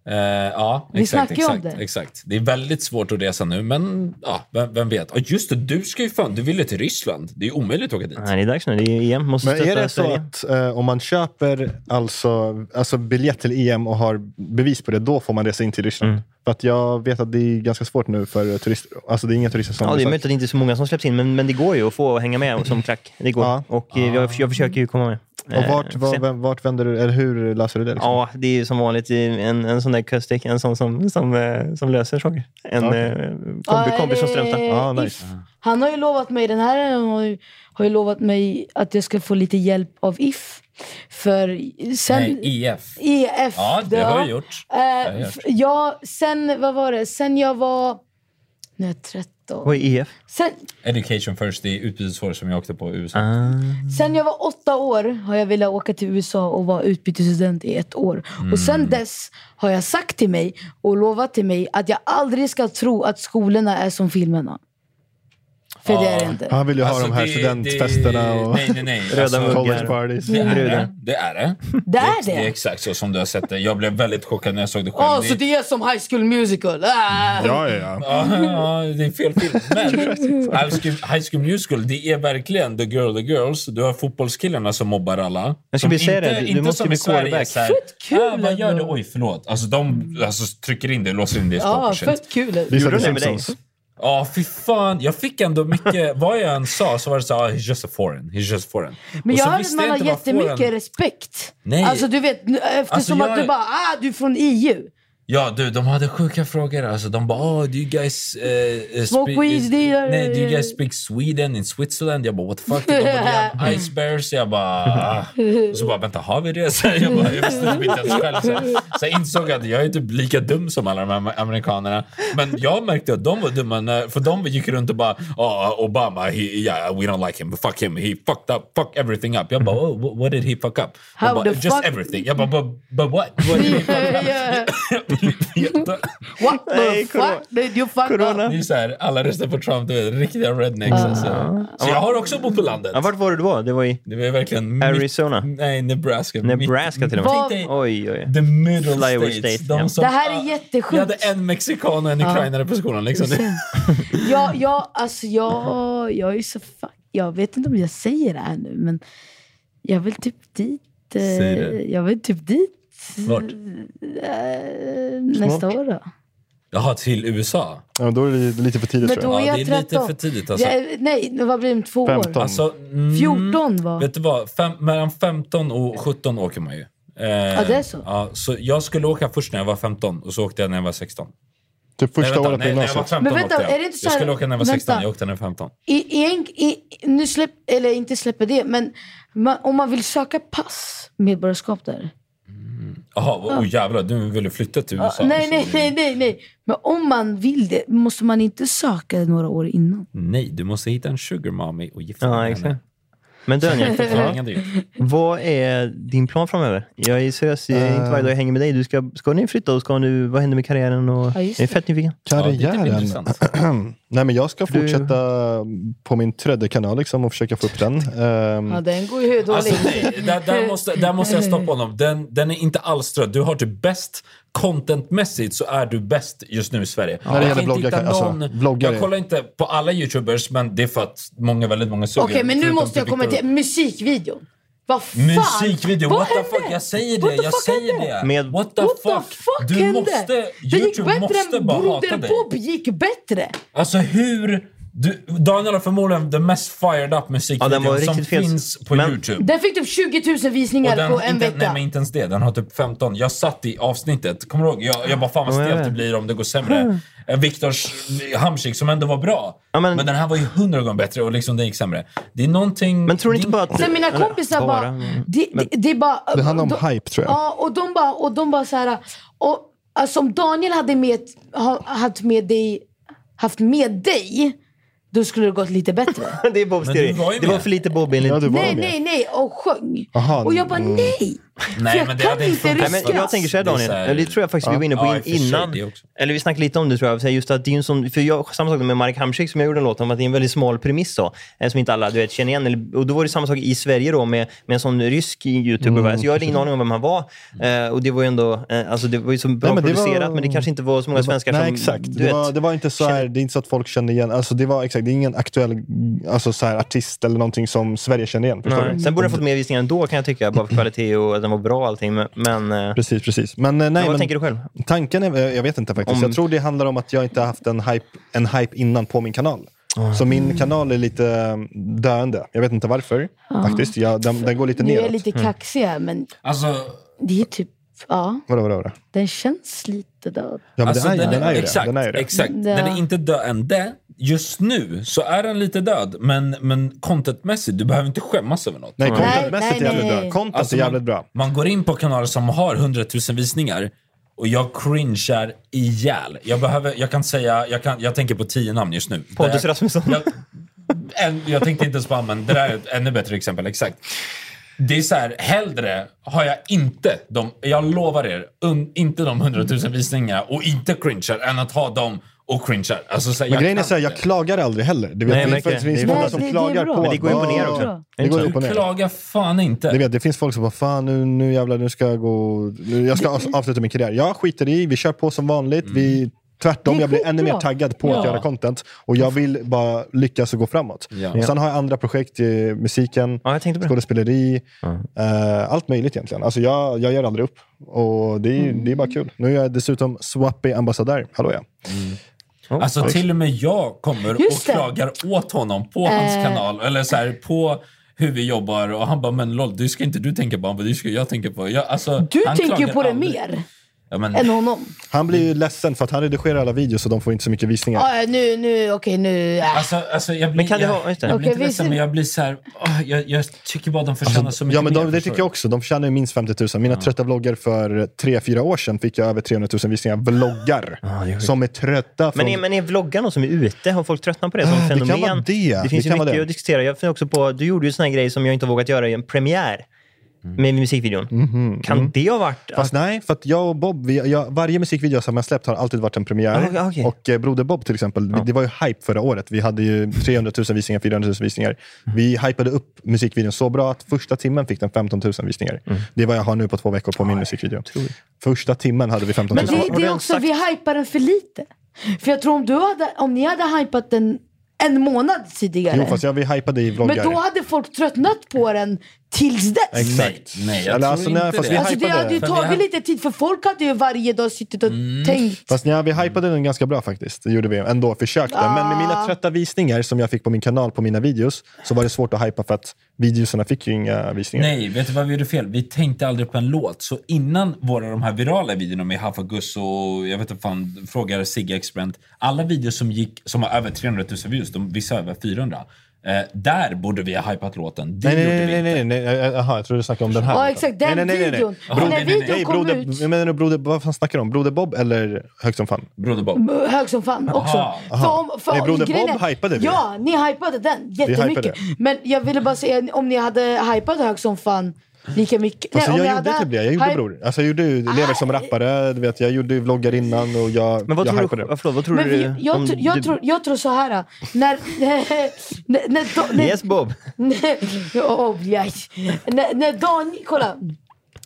Speaker 1: Eh, ja,
Speaker 4: Vi
Speaker 1: exakt,
Speaker 4: snackade ju om
Speaker 1: exakt,
Speaker 4: det.
Speaker 1: Exakt. Det är väldigt svårt att resa nu, men ja, vem, vem vet. Och just det, du ska ju fan, du ville till Ryssland. Det är ju omöjligt att åka dit.
Speaker 2: Nej, det är dags nu. Det är EM. Måste
Speaker 3: Men är
Speaker 2: stötta
Speaker 3: det så
Speaker 2: Sverige.
Speaker 3: att eh, om man köper alltså, alltså biljett till EM och har bevis på det, då får man resa in till Ryssland?
Speaker 1: Mm.
Speaker 3: För att jag vet att det är ganska svårt nu för turister. Alltså det är inga turister som...
Speaker 2: Ja, det är
Speaker 3: besöker.
Speaker 2: möjligt att det inte är så många som släpps in, men, men det går ju att få hänga med som klack. Det går.
Speaker 3: Ja.
Speaker 2: Och eh, jag, jag försöker ju komma med.
Speaker 3: Och vart, var, vem- vart vänder du, eller hur löser du det? Liksom?
Speaker 2: Ja, det är ju som vanligt i en, en sån där kustik, en sån som, som, eh, som löser saker. En
Speaker 3: Ja, okej.
Speaker 2: eh, kombi,
Speaker 4: Ja,
Speaker 2: kombi som
Speaker 4: det-
Speaker 2: struntar.
Speaker 4: Ja,
Speaker 3: nice.
Speaker 4: Han har ju lovat mig, den här har ju, har ju lovat mig att jag ska få lite hjälp av If. För sen...
Speaker 1: Nej, EF.
Speaker 4: EF.
Speaker 1: Ja, det har du gjort.
Speaker 4: Eh,
Speaker 1: har jag gjort.
Speaker 4: f- ja, sen, vad var det? Sen jag var... Nu är jag 13.
Speaker 2: Vad är E EF?
Speaker 4: Sen,
Speaker 1: Education first, det är utbytesår som jag åkte på i USA.
Speaker 4: sen jag var åtta år har jag velat åka till USA och vara utbytesstudent i ett år. Och
Speaker 1: Mm.
Speaker 4: sen dess har jag sagt till mig och lovat till mig att jag aldrig ska tro att skolorna är som filmerna. För det är det inte.
Speaker 3: Han vill ju ha
Speaker 1: Alltså,
Speaker 3: de här
Speaker 1: det-
Speaker 3: studentfesterna
Speaker 1: det-
Speaker 3: och
Speaker 1: nej, nej, nej.
Speaker 3: röda
Speaker 1: Alltså,
Speaker 3: college parties.
Speaker 1: Det är det.
Speaker 3: Brudar.
Speaker 1: Det är det.
Speaker 4: Det är
Speaker 1: Det är
Speaker 4: det!
Speaker 1: exakt så som du har sett det. Jag blev väldigt chockad när jag såg det själv.
Speaker 4: Ja, så det är som High School Musical. Ah.
Speaker 3: Ja, ja, ja.
Speaker 1: Ja, ja, det är fel film. Men High School, High School Musical, det är verkligen the girl, the girls. Du har fotbollskillarna som mobbar alla.
Speaker 2: Jag skulle
Speaker 1: Som
Speaker 2: vilja säga
Speaker 1: inte-
Speaker 2: det, du
Speaker 1: inte
Speaker 2: måste
Speaker 1: som
Speaker 2: bli
Speaker 1: i Sverige.
Speaker 2: quarterback.
Speaker 1: Så här,
Speaker 4: Fett kul
Speaker 1: "Ah, vad gör du?
Speaker 4: ändå."
Speaker 1: Oj, förlåt. Alltså de alltså, trycker in det, låser in det i
Speaker 4: Ja,
Speaker 1: skåpet.
Speaker 4: Ah, fett kul.
Speaker 3: Det är så
Speaker 2: Gjorde du
Speaker 3: The
Speaker 2: det med dig?
Speaker 3: Simpsons.
Speaker 1: Ja, fy fan. Jag fick ändå mycket... Vad jag än sa så var det så ah, he's just a foreign. He's just a foreign.
Speaker 4: Men
Speaker 1: Och
Speaker 4: jag
Speaker 1: så
Speaker 4: hör att
Speaker 1: visste
Speaker 4: man
Speaker 1: jag
Speaker 4: har
Speaker 1: inte vad foreign-
Speaker 4: jättemycket respekt.
Speaker 1: Nej.
Speaker 4: Alltså du vet, nu- eftersom
Speaker 1: jag
Speaker 4: att du
Speaker 1: är-
Speaker 4: bara ah, du är från EU.
Speaker 1: Ja, du, de hade sjuka frågor. Alltså, de bara, oh, do you guys... eh, eh,
Speaker 4: Smoke
Speaker 1: spe-
Speaker 4: weed, det är-
Speaker 1: Nej, do you guys speak Sweden in Switzerland? Jag bara, what the fuck? De bara, "We have ice bears. Jag bara, ah. Och så bara, vänta, har vi det? Så jag bara, jag visste typ inte ens själv. Så, så jag insåg att jag är typ lika dum som alla de här amer- amerikanerna. Men jag märkte att de var dumma, när, för de gick runt och bara, oh, Obama, he, yeah, we don't like him, fuck him, he fucked up, fuck everything up. Jag bara, oh, wh- what did he fuck up? De
Speaker 4: How
Speaker 1: bara,
Speaker 4: the
Speaker 1: Just
Speaker 4: fuck-
Speaker 1: everything. Jag bara, but, but what? What did he fuck up? Jag vill inte veta.
Speaker 4: What the
Speaker 2: Nej, corona.
Speaker 4: fuck did you fuck
Speaker 2: Corona.
Speaker 4: up?
Speaker 1: Det är så här, alla röstar på Trump, du vet, riktiga rednecks alltså. Så jag har också bott på landet.
Speaker 2: Ja, vart var du då? Det var i
Speaker 1: Det var ju verkligen... mitt-
Speaker 2: Arizona?
Speaker 1: Nej, Nebraska.
Speaker 2: Nebraska till och med.
Speaker 1: Tänk dig,
Speaker 2: Oj, oj.
Speaker 1: The middle
Speaker 2: Flyover
Speaker 1: states.
Speaker 2: state, ja.
Speaker 1: som-
Speaker 4: Det här är
Speaker 1: Vi hade
Speaker 4: jättesjukt.
Speaker 1: en mexikan och en ukrainare på skolan liksom.
Speaker 4: Ja, ja, alltså jag, jag är så fuck. Jag vet inte om jag säger det här nu, men jag vill typ dit. eh,
Speaker 1: Säg det.
Speaker 4: Jag vill typ dit.
Speaker 1: Vart?
Speaker 4: eh, Nästa år då.
Speaker 1: Jaha, till USA?
Speaker 3: ja. Då är det lite för tidigt
Speaker 4: Men
Speaker 3: tror
Speaker 4: då
Speaker 3: jag.
Speaker 4: är
Speaker 1: Ja,
Speaker 4: jag
Speaker 1: det är lite
Speaker 4: 13.
Speaker 1: för tidigt alltså.
Speaker 4: Jag- nej, vad blir det om två år?
Speaker 3: 15.
Speaker 1: Alltså, mm,
Speaker 4: 14 var.
Speaker 1: Vet du vad? Fem, mellan 15 och 17 åker man ju. Eh, ja,
Speaker 4: det är så.
Speaker 1: Ja, så jag skulle åka först när jag var 15 och så åkte jag när jag var 16.
Speaker 3: Typ första
Speaker 1: nej, vänta,
Speaker 3: året på
Speaker 1: nej, när jag var
Speaker 3: gymnasiet.
Speaker 1: 15
Speaker 4: Men vänta,
Speaker 1: åkte jag.
Speaker 4: är det inte så
Speaker 1: jag
Speaker 4: här-
Speaker 1: skulle åka när jag var 16,
Speaker 4: vänta.
Speaker 1: jag åkte när jag var 15.
Speaker 4: I, i, en- i, nu släpp, eller inte släpper det, men man, om man vill söka pass, medborgarskap där.
Speaker 1: Jaha, oh, jävlar, du ville flytta till USA?
Speaker 4: nej, nej, nej, nej, nej. Men om man vill det, måste man inte söka några år innan?
Speaker 1: Nej, du måste hitta en sugar mommy och gifta dig
Speaker 2: Ja,
Speaker 1: med
Speaker 2: exakt. Men Dönjak,
Speaker 1: henne. Förlänga det.
Speaker 2: vad är din plan framöver? Jag är seriös, jag är inte varje dag jag hänger med dig. Du ska, ska ni flytta och ska nu, vad händer med karriären? Och,
Speaker 4: Ja, just
Speaker 2: jag är fett nyfiken.
Speaker 1: Ja, det är typ
Speaker 3: Karriären.
Speaker 1: intressant.
Speaker 3: Nej, men jag ska
Speaker 2: Du-
Speaker 3: fortsätta på min tredje kanal liksom, och försöka få upp den. Ehm,
Speaker 4: Ja, den går ju hur dåligt.
Speaker 1: Mm. Alltså, nej, där, där, måste, där måste jag stoppa honom. Den, den är inte alls trött. Du har typ bäst contentmässigt så är du bäst just nu i Sverige.
Speaker 3: det
Speaker 1: jag
Speaker 3: gäller
Speaker 1: kan inte
Speaker 3: bloggar-
Speaker 1: hitta
Speaker 3: alltså, bloggare.
Speaker 1: jag kollar inte på alla youtubers, men det är för att många, väldigt många suger.
Speaker 4: Okej, men nu
Speaker 1: Förutom
Speaker 4: måste jag
Speaker 1: typ Victor-
Speaker 4: kommentera musikvideon. Vad fan?
Speaker 1: Musikvideo,
Speaker 4: Vad
Speaker 1: what the
Speaker 4: hände?
Speaker 1: fuck? Jag säger
Speaker 4: What
Speaker 1: det,
Speaker 4: the
Speaker 1: jag
Speaker 4: fuck
Speaker 1: säger
Speaker 4: hände?
Speaker 1: det.
Speaker 2: Med-
Speaker 1: what the
Speaker 4: What
Speaker 1: fuck?
Speaker 4: the fuck
Speaker 1: du
Speaker 4: hände?
Speaker 1: måste,
Speaker 4: det gick
Speaker 1: Youtube
Speaker 4: bättre
Speaker 1: måste
Speaker 4: än
Speaker 1: bara hata
Speaker 4: Broder
Speaker 1: dig.
Speaker 4: Bob gick bättre.
Speaker 1: Alltså hur... Du, Daniel har förmodligen den mest fired up
Speaker 2: Ja,
Speaker 1: musikvideon
Speaker 2: den var
Speaker 1: som
Speaker 2: riktigt fet.
Speaker 1: finns på
Speaker 2: Men-
Speaker 1: Youtube.
Speaker 4: Den fick typ 20 000 visningar
Speaker 1: Och den-
Speaker 4: på en
Speaker 1: inte,
Speaker 4: vecka.
Speaker 1: Nej, men inte ens det. Den har typ 15. Jag satt i avsnittet. Kommer du ihåg? Jag, jag bara, fan vad
Speaker 2: Ja, jag
Speaker 1: stelt det
Speaker 2: vet.
Speaker 1: blir om det går
Speaker 4: Mm.
Speaker 1: sämre. Eh, Viktors Hamsik som ändå var bra.
Speaker 2: Ja, men-
Speaker 1: men... den här var ju hundra gånger bättre och liksom den gick sämre. Det är någonting...
Speaker 2: Men tror ni inte
Speaker 1: det-
Speaker 2: bara att...
Speaker 4: Sen mina
Speaker 2: eller,
Speaker 4: kompisar bara...
Speaker 2: men-
Speaker 4: Det, det, det, är bara
Speaker 3: Det handlar om
Speaker 4: de-
Speaker 3: hype, tror jag.
Speaker 4: Ja, och de bara, och de bara så här... Och, alltså, om Daniel hade med, ha, haft, med dig, haft med dig, då skulle det gått lite bättre.
Speaker 2: det är Bobs
Speaker 1: Men du
Speaker 2: teori.
Speaker 1: var ju
Speaker 2: det var
Speaker 1: med.
Speaker 2: för lite Bob enligt...
Speaker 3: Ja, du var
Speaker 4: nej,
Speaker 3: med.
Speaker 4: nej, nej, och sjöng.
Speaker 3: Aha,
Speaker 4: och jag bara,
Speaker 3: mm.
Speaker 4: nej!
Speaker 1: Nej,
Speaker 4: jag
Speaker 1: men det
Speaker 4: kan
Speaker 1: hade inte
Speaker 4: inte
Speaker 1: funkat.
Speaker 2: Nej,
Speaker 4: ryska.
Speaker 2: men jag tänker så här
Speaker 1: Det är
Speaker 2: Daniel,
Speaker 1: så här-
Speaker 2: eller det tror jag faktiskt vi var inne på
Speaker 1: Ja, i och för sig,
Speaker 2: innan.
Speaker 1: det också.
Speaker 2: Eller vi snackade lite om det tror jag. Så här, Just att det är ju en sån, för jag, samma sak med Marek Hamsik som jag gjorde en låt om, att det är en väldigt smal premiss då, eh, som inte alla du vet, känner igen. Eller- Och då var det samma sak i Sverige då med, med en sån rysk youtuber. va? Så jag hade ingen aning om vem han var. Eh, och det var ju ändå, eh, alltså det var ju så bra
Speaker 3: Nej, men det var-
Speaker 2: producerat, men det kanske inte var så många svenskar
Speaker 3: Nej,
Speaker 2: som...
Speaker 3: exakt.
Speaker 2: Du
Speaker 3: Det
Speaker 2: vet,
Speaker 3: var, det var inte så här, det är inte så att folk kände igen. Alltså, det var exakt, det är ingen aktuell alltså, så här, artist eller någonting som Sverige känner igen. Förstår
Speaker 2: nej.
Speaker 3: du?
Speaker 2: Sen borde jag fått mer visningar ändå kan jag tycka, bara för kvalitet och att den var bra och allting. Men, men, eh,
Speaker 3: Precis, precis. Men, eh, nej,
Speaker 2: men vad
Speaker 3: men,
Speaker 2: tänker du själv?
Speaker 3: Tanken är, jag vet inte faktiskt.
Speaker 2: Om-
Speaker 3: Jag tror det handlar om att jag inte har haft en hype, en hype innan på min kanal.
Speaker 2: Ah.
Speaker 3: Så min kanal är lite eh, döende. Jag vet inte varför.
Speaker 4: Ja.
Speaker 3: Faktiskt. Jag, den, den går lite
Speaker 4: Nu Ah. är
Speaker 3: neråt.
Speaker 4: jag lite kaxig här, men
Speaker 1: Alltså,
Speaker 4: det är typ, ja,
Speaker 3: Vadå, vadå, vadå?
Speaker 4: den känns lite
Speaker 3: Ja,
Speaker 4: död.
Speaker 3: men
Speaker 2: Alltså,
Speaker 3: den, är,
Speaker 1: alltså, den
Speaker 3: den, är ju
Speaker 1: exakt,
Speaker 3: det. Den är ju det.
Speaker 1: Exakt.
Speaker 4: Ja.
Speaker 1: Den är inte död än. Det, just nu så är den lite död, men, men contentmässigt, du behöver inte skämmas över något.
Speaker 3: Nej,
Speaker 4: Nej,
Speaker 3: contentmässigt är
Speaker 4: nej,
Speaker 3: jävligt
Speaker 4: nej.
Speaker 3: bra. Content
Speaker 1: Alltså,
Speaker 3: är
Speaker 1: man-
Speaker 3: jävligt bra.
Speaker 1: Man går in på kanaler som har 100 000 visningar och jag cringear ihjäl. Jag, behöver, jag kan säga, jag, kan, jag tänker på tio namn just nu.
Speaker 2: Pontus
Speaker 1: Det-
Speaker 2: Rasmusson.
Speaker 1: Jag, en, jag tänkte inte ens på men det där är ett ännu bättre exempel. Exakt. Det är så här, hellre har jag inte de, jag lovar er, un, inte de 100 000 visningarna och inte cringear än att ha dem och cringear. Alltså, så här,
Speaker 3: Men grejen är
Speaker 1: kan
Speaker 3: såhär, jag
Speaker 1: inte.
Speaker 3: klagar aldrig heller. Du vet,
Speaker 2: Nej,
Speaker 3: det
Speaker 2: men
Speaker 3: finns-
Speaker 2: okej.
Speaker 3: det finns
Speaker 2: Det är
Speaker 3: många
Speaker 2: bra.
Speaker 3: som
Speaker 4: Det- det är
Speaker 3: klagar
Speaker 4: bra.
Speaker 3: på...
Speaker 4: Men
Speaker 2: det går ju upp och ner
Speaker 3: Ja,
Speaker 2: också.
Speaker 3: Det går
Speaker 2: Inte
Speaker 3: upp och ner.
Speaker 1: Klaga fan inte.
Speaker 3: Jag vet, det finns folk som bara fan nu, nu jävlar nu ska jag gå... Nu, jag ska avs- avsluta min karriär. Jag skiter i, vi kör på som vanligt. Vi, tvärtom,
Speaker 4: Det är
Speaker 3: jag blir ännu
Speaker 4: skitbra.
Speaker 3: mer taggad på
Speaker 1: Ja.
Speaker 3: att göra content. Och jag vill bara lyckas och gå framåt.
Speaker 1: Ja.
Speaker 3: Och sen har jag andra projekt, eh, musiken,
Speaker 2: Ja, jag tänkte på det.
Speaker 3: skådespeleri, eh, allt möjligt egentligen. Alltså jag, jag gör aldrig upp. Och det är, det är bara kul. Nu är jag dessutom Swappy ambassadör. Hallå ja.
Speaker 1: Alltså till och med jag kommer
Speaker 4: Just
Speaker 1: och
Speaker 4: det.
Speaker 1: klagar åt honom på hans
Speaker 4: Eh.
Speaker 1: kanal, eller så här, på hur vi jobbar och han bara “men lol, det ska inte du tänka på, han bara, det ska jag tänka på”. Jag, alltså,
Speaker 4: Du
Speaker 1: han
Speaker 4: tänker ju
Speaker 1: klagar
Speaker 4: på det
Speaker 1: aldrig.
Speaker 4: mer
Speaker 1: Ja, men,
Speaker 4: än honom.
Speaker 3: Han blir ju ledsen för att han redigerar alla videos och de får inte så mycket visningar.
Speaker 4: Ja, nu, nu, okej nu. äh.
Speaker 1: alltså, alltså, jag blir,
Speaker 2: Men kan det
Speaker 1: jag,
Speaker 2: ha- just det.
Speaker 1: jag blir inte
Speaker 4: Okej, vi
Speaker 1: ledsen,
Speaker 4: ser-
Speaker 1: men jag blir så här, åh, jag, jag tycker bara de förtjänar så mycket
Speaker 3: Alltså, Ja, men
Speaker 1: mer.
Speaker 3: de, det tycker jag också. De förtjänar ju minst 50 000. Mina trötta vloggar för eh, tre fyra år sedan fick jag över 300 000 visningar. Vloggar som är trötta. Från...
Speaker 2: Men är, men är vloggarna som är ute, har folk tröttnat på det som
Speaker 3: Ah, det kan
Speaker 2: fenomen?
Speaker 3: vara det.
Speaker 2: Det
Speaker 3: Det
Speaker 2: finns
Speaker 3: kan
Speaker 2: ju
Speaker 3: vara
Speaker 2: mycket
Speaker 3: det.
Speaker 2: att diskutera. Jag funderar också på, du gjorde ju såna här grejer som jag inte har vågat göra i en premiär med musikvideon. Kan det ha varit...
Speaker 3: Mm. Mhm,
Speaker 2: Alltså,
Speaker 3: Fast nej, för att jag och Bob, vi, jag, varje musikvideo som jag släppt har alltid varit en premiär.
Speaker 2: Ah, okej.
Speaker 3: Och eh, Broder Bob till exempel, vi, det var ju hype förra året. Vi hade ju 300 000 visningar, 400 000 visningar. Vi hypade upp musikvideon så bra att första timmen fick den 15 000 visningar. Det är vad jag har nu på två veckor på min musikvideo. Första timmen hade vi 15 000.
Speaker 4: Men det,
Speaker 2: har- har
Speaker 4: det
Speaker 2: du
Speaker 4: är
Speaker 2: ens
Speaker 4: också,
Speaker 2: sagt-
Speaker 4: vi hypar den för lite. För jag tror om, du hade, om ni hade hypat den en månad tidigare,
Speaker 3: Jo, fast jag, vi hypade i vloggar.
Speaker 4: men då hade folk tröttnat på den tills dess.
Speaker 3: Exakt.
Speaker 1: Nej, nej, jag
Speaker 3: Eller
Speaker 1: tror
Speaker 3: alltså,
Speaker 1: inte
Speaker 3: nej, fast
Speaker 1: det.
Speaker 3: vi
Speaker 4: Alltså det
Speaker 3: hypade
Speaker 4: hade ju
Speaker 1: För vi
Speaker 4: tagit
Speaker 1: hade-
Speaker 4: lite tid, för folk hade ju varje dag suttit och tänkt.
Speaker 3: Fast ja, vi hypade den ganska bra faktiskt. Det gjorde vi ändå. Försökte. Men med
Speaker 4: Ah.
Speaker 3: mina trötta visningar som jag fick på min kanal på mina videos så var det svårt att hypa för att videoserna fick ju inga visningar.
Speaker 1: Nej, vet du vad vi gjorde fel? Vi tänkte aldrig på en låt. Så innan våra de här virala videorna med Haffa Gus och jag vet inte fan, frågar Sigge Experiment. Alla videor som gick, som har över 300 000 views, de, vissa över 400. Eh, där borde vi ha hypat låten. Det
Speaker 3: Nej,
Speaker 1: gjorde
Speaker 3: nej,
Speaker 1: vi
Speaker 3: nej, nej, nej, nej. Jaha, jag trodde du snackade om den här.
Speaker 4: Ja
Speaker 3: låten.
Speaker 4: exakt, den
Speaker 3: nej, nej, nej, nej.
Speaker 4: videon.
Speaker 1: Ja,
Speaker 4: Men
Speaker 1: nej, nej,
Speaker 4: när
Speaker 1: nej.
Speaker 4: videon
Speaker 3: Nej,
Speaker 4: kom
Speaker 3: broder,
Speaker 4: ut,
Speaker 3: jag menar, broder, vad fan snackar du om? Broder Bob eller Högt som fan? Alltså,
Speaker 1: Broder Bob.
Speaker 4: m- hög som fan också.
Speaker 1: Aha,
Speaker 4: För om, för
Speaker 3: Nej, Broder
Speaker 4: grejen
Speaker 3: Bob
Speaker 4: är-
Speaker 3: hypade vi.
Speaker 4: Ja, ni hypade den jättemycket.
Speaker 3: hypade.
Speaker 4: Men jag ville bara säga, om ni hade hypat hög som fan lika mycket.
Speaker 3: Alltså,
Speaker 4: om
Speaker 3: jag
Speaker 4: ni
Speaker 3: gjorde typ det. Jag gjorde
Speaker 4: hype-
Speaker 3: bror. Alltså, jag gjorde ju Lever
Speaker 4: Ah,
Speaker 3: som rappare, du vet, jag gjorde ju vloggar innan och jag,
Speaker 2: men vad
Speaker 3: jag
Speaker 2: tror,
Speaker 3: hypade
Speaker 2: du,
Speaker 3: det.
Speaker 2: ja, förlåt, vad tror
Speaker 4: Men
Speaker 2: du?
Speaker 4: vi, jag,
Speaker 2: om
Speaker 4: tr- jag,
Speaker 2: du-
Speaker 4: tror, jag tror så här. När... när, när, när, när
Speaker 2: Yes Bob.
Speaker 4: oh, yes. när, när Daniel, kolla.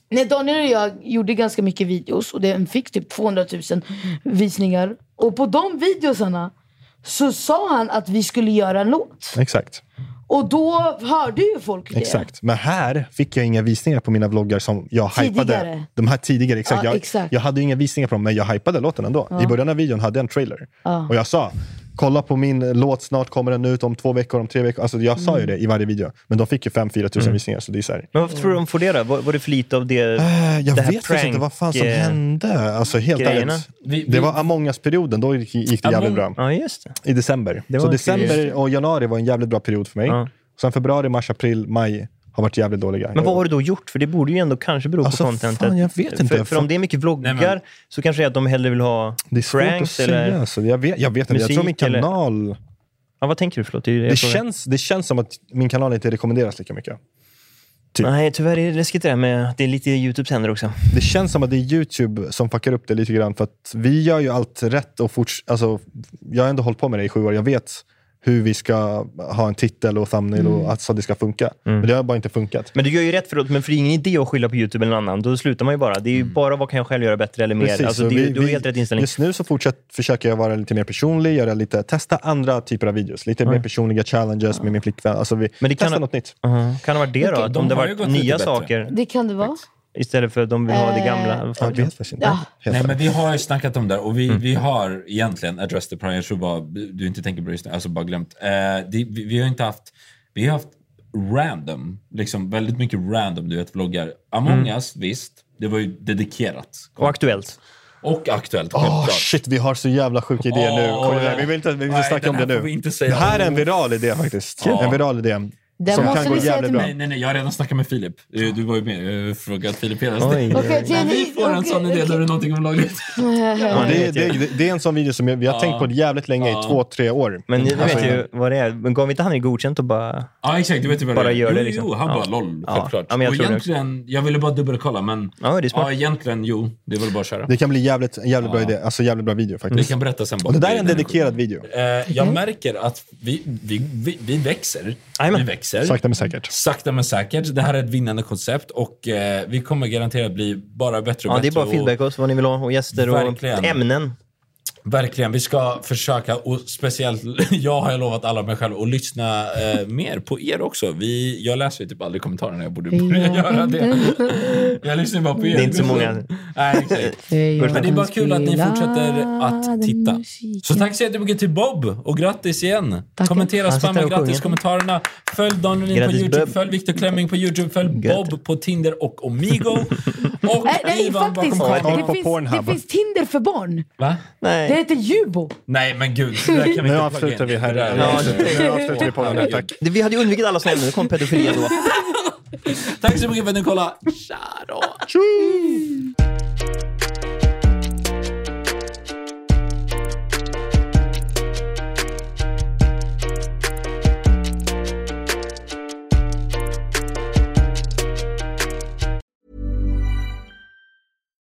Speaker 4: När Daniel och jag gjorde ganska mycket videos och den fick typ 200 000 visningar. Och på de videosarna så sa han att vi skulle göra en låt.
Speaker 3: Exakt.
Speaker 4: Och då hörde ju folk det.
Speaker 3: Exakt. Men här fick jag inga visningar på mina vloggar som jag
Speaker 4: Tidigare.
Speaker 3: hypade. De här tidigare. Exakt.
Speaker 4: Ja,
Speaker 3: jag,
Speaker 4: exakt.
Speaker 3: jag hade ju inga visningar på dem, men jag hypade låten ändå. I början av videon hade jag en trailer. Och jag sa, kolla på min låt, snart kommer den ut om två veckor, om tre veckor. Alltså, jag sa
Speaker 4: Mm.
Speaker 3: ju det i varje video. Men de fick ju 5-4 tusen visningar. Så det är så här.
Speaker 2: Men vad tror du de får det då? Var, var det för lite av det?
Speaker 3: Eh, Jag
Speaker 2: det här
Speaker 3: vet faktiskt inte vad fan som
Speaker 2: prank, eh,
Speaker 3: hände. Alltså, helt
Speaker 2: grejerna.
Speaker 3: ärligt.
Speaker 1: Vi- vi-
Speaker 3: Det var among us-perioden. Då gick gick det jävligt
Speaker 1: Among-
Speaker 3: bra.
Speaker 2: Ja, just det.
Speaker 3: I december.
Speaker 2: Det var
Speaker 3: Så
Speaker 2: en
Speaker 3: december
Speaker 2: kul-
Speaker 3: och januari var en jävligt bra period för mig.
Speaker 2: Ja.
Speaker 3: Sen februari, mars, april, maj har varit jävligt dåliga.
Speaker 2: Men vad har du då gjort? För det borde ju ändå kanske bero
Speaker 3: Alltså,
Speaker 2: på contentet.
Speaker 3: fan, jag vet inte.
Speaker 2: För, för om det är mycket vloggar
Speaker 1: Nej, men-
Speaker 2: så kanske det är att de hellre vill ha
Speaker 3: Det är svårt att
Speaker 2: pranks
Speaker 3: säga.
Speaker 2: eller...
Speaker 3: Alltså. Jag, vet, jag vet inte. jag tror min
Speaker 2: musik eller-
Speaker 3: kanal...
Speaker 2: Ja, vad tänker du? Förlåt, det, är-
Speaker 3: Det
Speaker 2: jag frågar.
Speaker 3: känns, det känns som att min kanal inte rekommenderas lika mycket. typ.
Speaker 2: Nej, tyvärr är det läskigt det där med att det är lite i Youtubes händer också.
Speaker 3: Det känns som att det är YouTube som fuckar upp det lite grann. För att vi gör ju allt rätt. och forts- alltså, Jag har ändå hållit på med det i sju år. Jag vet hur vi ska ha en titel och thumbnail och att, så att det ska funka. Men det har bara inte funkat.
Speaker 2: Mm. Men du gör ju rätt förlåt, men för det är ingen idé att skylla på Youtube eller någon annan. Då slutar man ju bara. Det är ju bara vad kan jag själv göra bättre eller mer.
Speaker 3: Precis,
Speaker 2: Alltså,
Speaker 3: så
Speaker 2: det,
Speaker 3: vi-
Speaker 2: du har
Speaker 3: vi-
Speaker 2: helt rätt inställning.
Speaker 3: Just nu så fortsätt, försöker jag vara lite mer personlig, göra lite, testa andra typer av videos. Lite mer personliga challenges med min flickvän. Alltså vi
Speaker 2: Men det kan
Speaker 3: testar
Speaker 2: ha-
Speaker 3: något nytt.
Speaker 2: Aha. Uh-huh. Kan det ha varit det då?
Speaker 1: Okej,
Speaker 2: Att
Speaker 1: de
Speaker 2: om det
Speaker 1: har
Speaker 2: har
Speaker 1: ju
Speaker 2: varit
Speaker 1: gått lite
Speaker 2: nya
Speaker 1: bättre.
Speaker 2: saker.
Speaker 4: Det kan det vara.
Speaker 2: Istället för att de vill ha det
Speaker 4: Eh,
Speaker 2: gamla. Vad fan
Speaker 3: jag
Speaker 2: vet jag?
Speaker 3: vet faktiskt inte.
Speaker 4: Ja.
Speaker 3: Helt
Speaker 1: Nej,
Speaker 3: ärligt.
Speaker 1: men vi har ju snackat om det där och vi,
Speaker 3: Mm.
Speaker 1: vi har egentligen addressed the prior. Jag tror bara du inte tänker på det just nu, alltså bara glömt. Eh, det, vi, vi har inte haft, vi har haft random, liksom väldigt mycket random, du vet, vloggar. Among
Speaker 3: Mm.
Speaker 1: us, visst, det var ju dedikerat.
Speaker 2: Och aktuellt.
Speaker 1: Och aktuellt,
Speaker 3: Åh,
Speaker 1: självklart.
Speaker 3: shit, vi har så jävla sjuka idéer nu.
Speaker 1: Åh,
Speaker 3: Kom
Speaker 1: ja.
Speaker 3: igen, vi vill inte, vi vill inte
Speaker 1: Nej,
Speaker 3: snacka
Speaker 1: den
Speaker 3: om det
Speaker 1: här
Speaker 3: nu.
Speaker 1: får vi inte säga.
Speaker 3: det här är en viral idé faktiskt.
Speaker 1: Ja.
Speaker 3: En viral idé.
Speaker 4: Den
Speaker 3: som
Speaker 4: måste
Speaker 3: kan gå
Speaker 4: vi säga
Speaker 3: jävligt
Speaker 4: till
Speaker 3: bra.
Speaker 1: Nej, nej, nej, jag har redan snackat med Filip. Eh, Du var ju med, jag har frågat Filip hela
Speaker 2: Oj.
Speaker 1: tiden.
Speaker 4: Okej,
Speaker 1: När
Speaker 4: Jenny,
Speaker 1: vi får en sån
Speaker 4: okej,
Speaker 1: idé, då är det någonting om laget.
Speaker 3: Ja,
Speaker 4: Eh,
Speaker 2: det
Speaker 3: det,
Speaker 2: vet
Speaker 3: det,
Speaker 2: jag.
Speaker 3: det, det är en sån video som vi har tänkt på jävligt länge, i två, tre år.
Speaker 2: Men ni
Speaker 3: Alltså,
Speaker 2: vet ju vad det är. Men gav inte han det godkänt och bara...
Speaker 1: Ja, exakt. Du vet ju vad
Speaker 2: Bara
Speaker 1: det är.
Speaker 2: gör
Speaker 1: jo,
Speaker 2: det, liksom.
Speaker 1: jo, han
Speaker 2: Ja.
Speaker 1: bara LOL,
Speaker 2: Ja,
Speaker 1: självklart.
Speaker 2: ja, men jag
Speaker 1: och
Speaker 2: tror det.
Speaker 1: egentligen, jag ville bara dubbelkolla, men...
Speaker 2: Ja, det är smart.
Speaker 1: Ja,
Speaker 2: Mm.
Speaker 1: egentligen, jo. Det är väl bara att köra.
Speaker 3: Det kan bli jävligt, en jävligt bra idé. Alltså jävligt bra video
Speaker 1: Vi
Speaker 3: faktiskt.
Speaker 1: kan berätta sen. bara.
Speaker 3: Och det där är en dedikerad video.
Speaker 1: Eh, jag märker att vi, vi, vi, vi växer.
Speaker 2: Jajamän.
Speaker 1: Vi växer.
Speaker 3: Sakta men säkert.
Speaker 1: Sakta men säkert. Det här är ett vinnande koncept och eh, vi kommer garanterat bli bara bättre och
Speaker 2: Ja, det
Speaker 1: bättre.
Speaker 2: är bara
Speaker 1: och-
Speaker 2: feedback oss vad ni vill ha och gäster
Speaker 1: Verkligen.
Speaker 2: och ämnen.
Speaker 1: Verkligen. Vi ska försöka, och speciellt jag har ju lovat alla mig själv, att lyssna eh, mer på er också. Vi, jag läser ju typ aldrig kommentarerna, jag borde börja göra det. Jag lyssnar bara på er.
Speaker 2: Det är inte så många.
Speaker 1: Nej, exakt. Men det är bara kul att ni fortsätter att titta. Så tack så jättemycket till Bob och grattis igen.
Speaker 4: Tack.
Speaker 1: Kommentera,
Speaker 2: Han sitter
Speaker 1: spamma
Speaker 2: och sjunger.
Speaker 1: grattis-kommentarerna. Följ Daniel in på
Speaker 2: Grattis,
Speaker 1: YouTube,
Speaker 2: Bob.
Speaker 1: följ Viktor Klemming på YouTube, följ
Speaker 2: Grattis.
Speaker 1: Bob på Tinder och Omigo. Och
Speaker 4: Nej, nej
Speaker 1: Ivan bakom
Speaker 4: faktiskt.
Speaker 1: kameran.
Speaker 3: kameran.
Speaker 4: Det
Speaker 3: På
Speaker 4: finns,
Speaker 3: Pornhub.
Speaker 4: det finns Tinder för barn.
Speaker 1: Va?
Speaker 4: Det
Speaker 2: Nej.
Speaker 4: heter Jubo.
Speaker 1: Nej, men gud. det där kan vi
Speaker 3: Nu
Speaker 1: inte
Speaker 3: avslutar vi här.
Speaker 1: Det där-
Speaker 2: Ja,
Speaker 3: Nu avslutar vi podden här. Tack.
Speaker 2: Det, vi hade ju undvikit alla såna ämnen. Nu kom pedofilia då.
Speaker 1: Tack så mycket för att ni kollade. Tja då!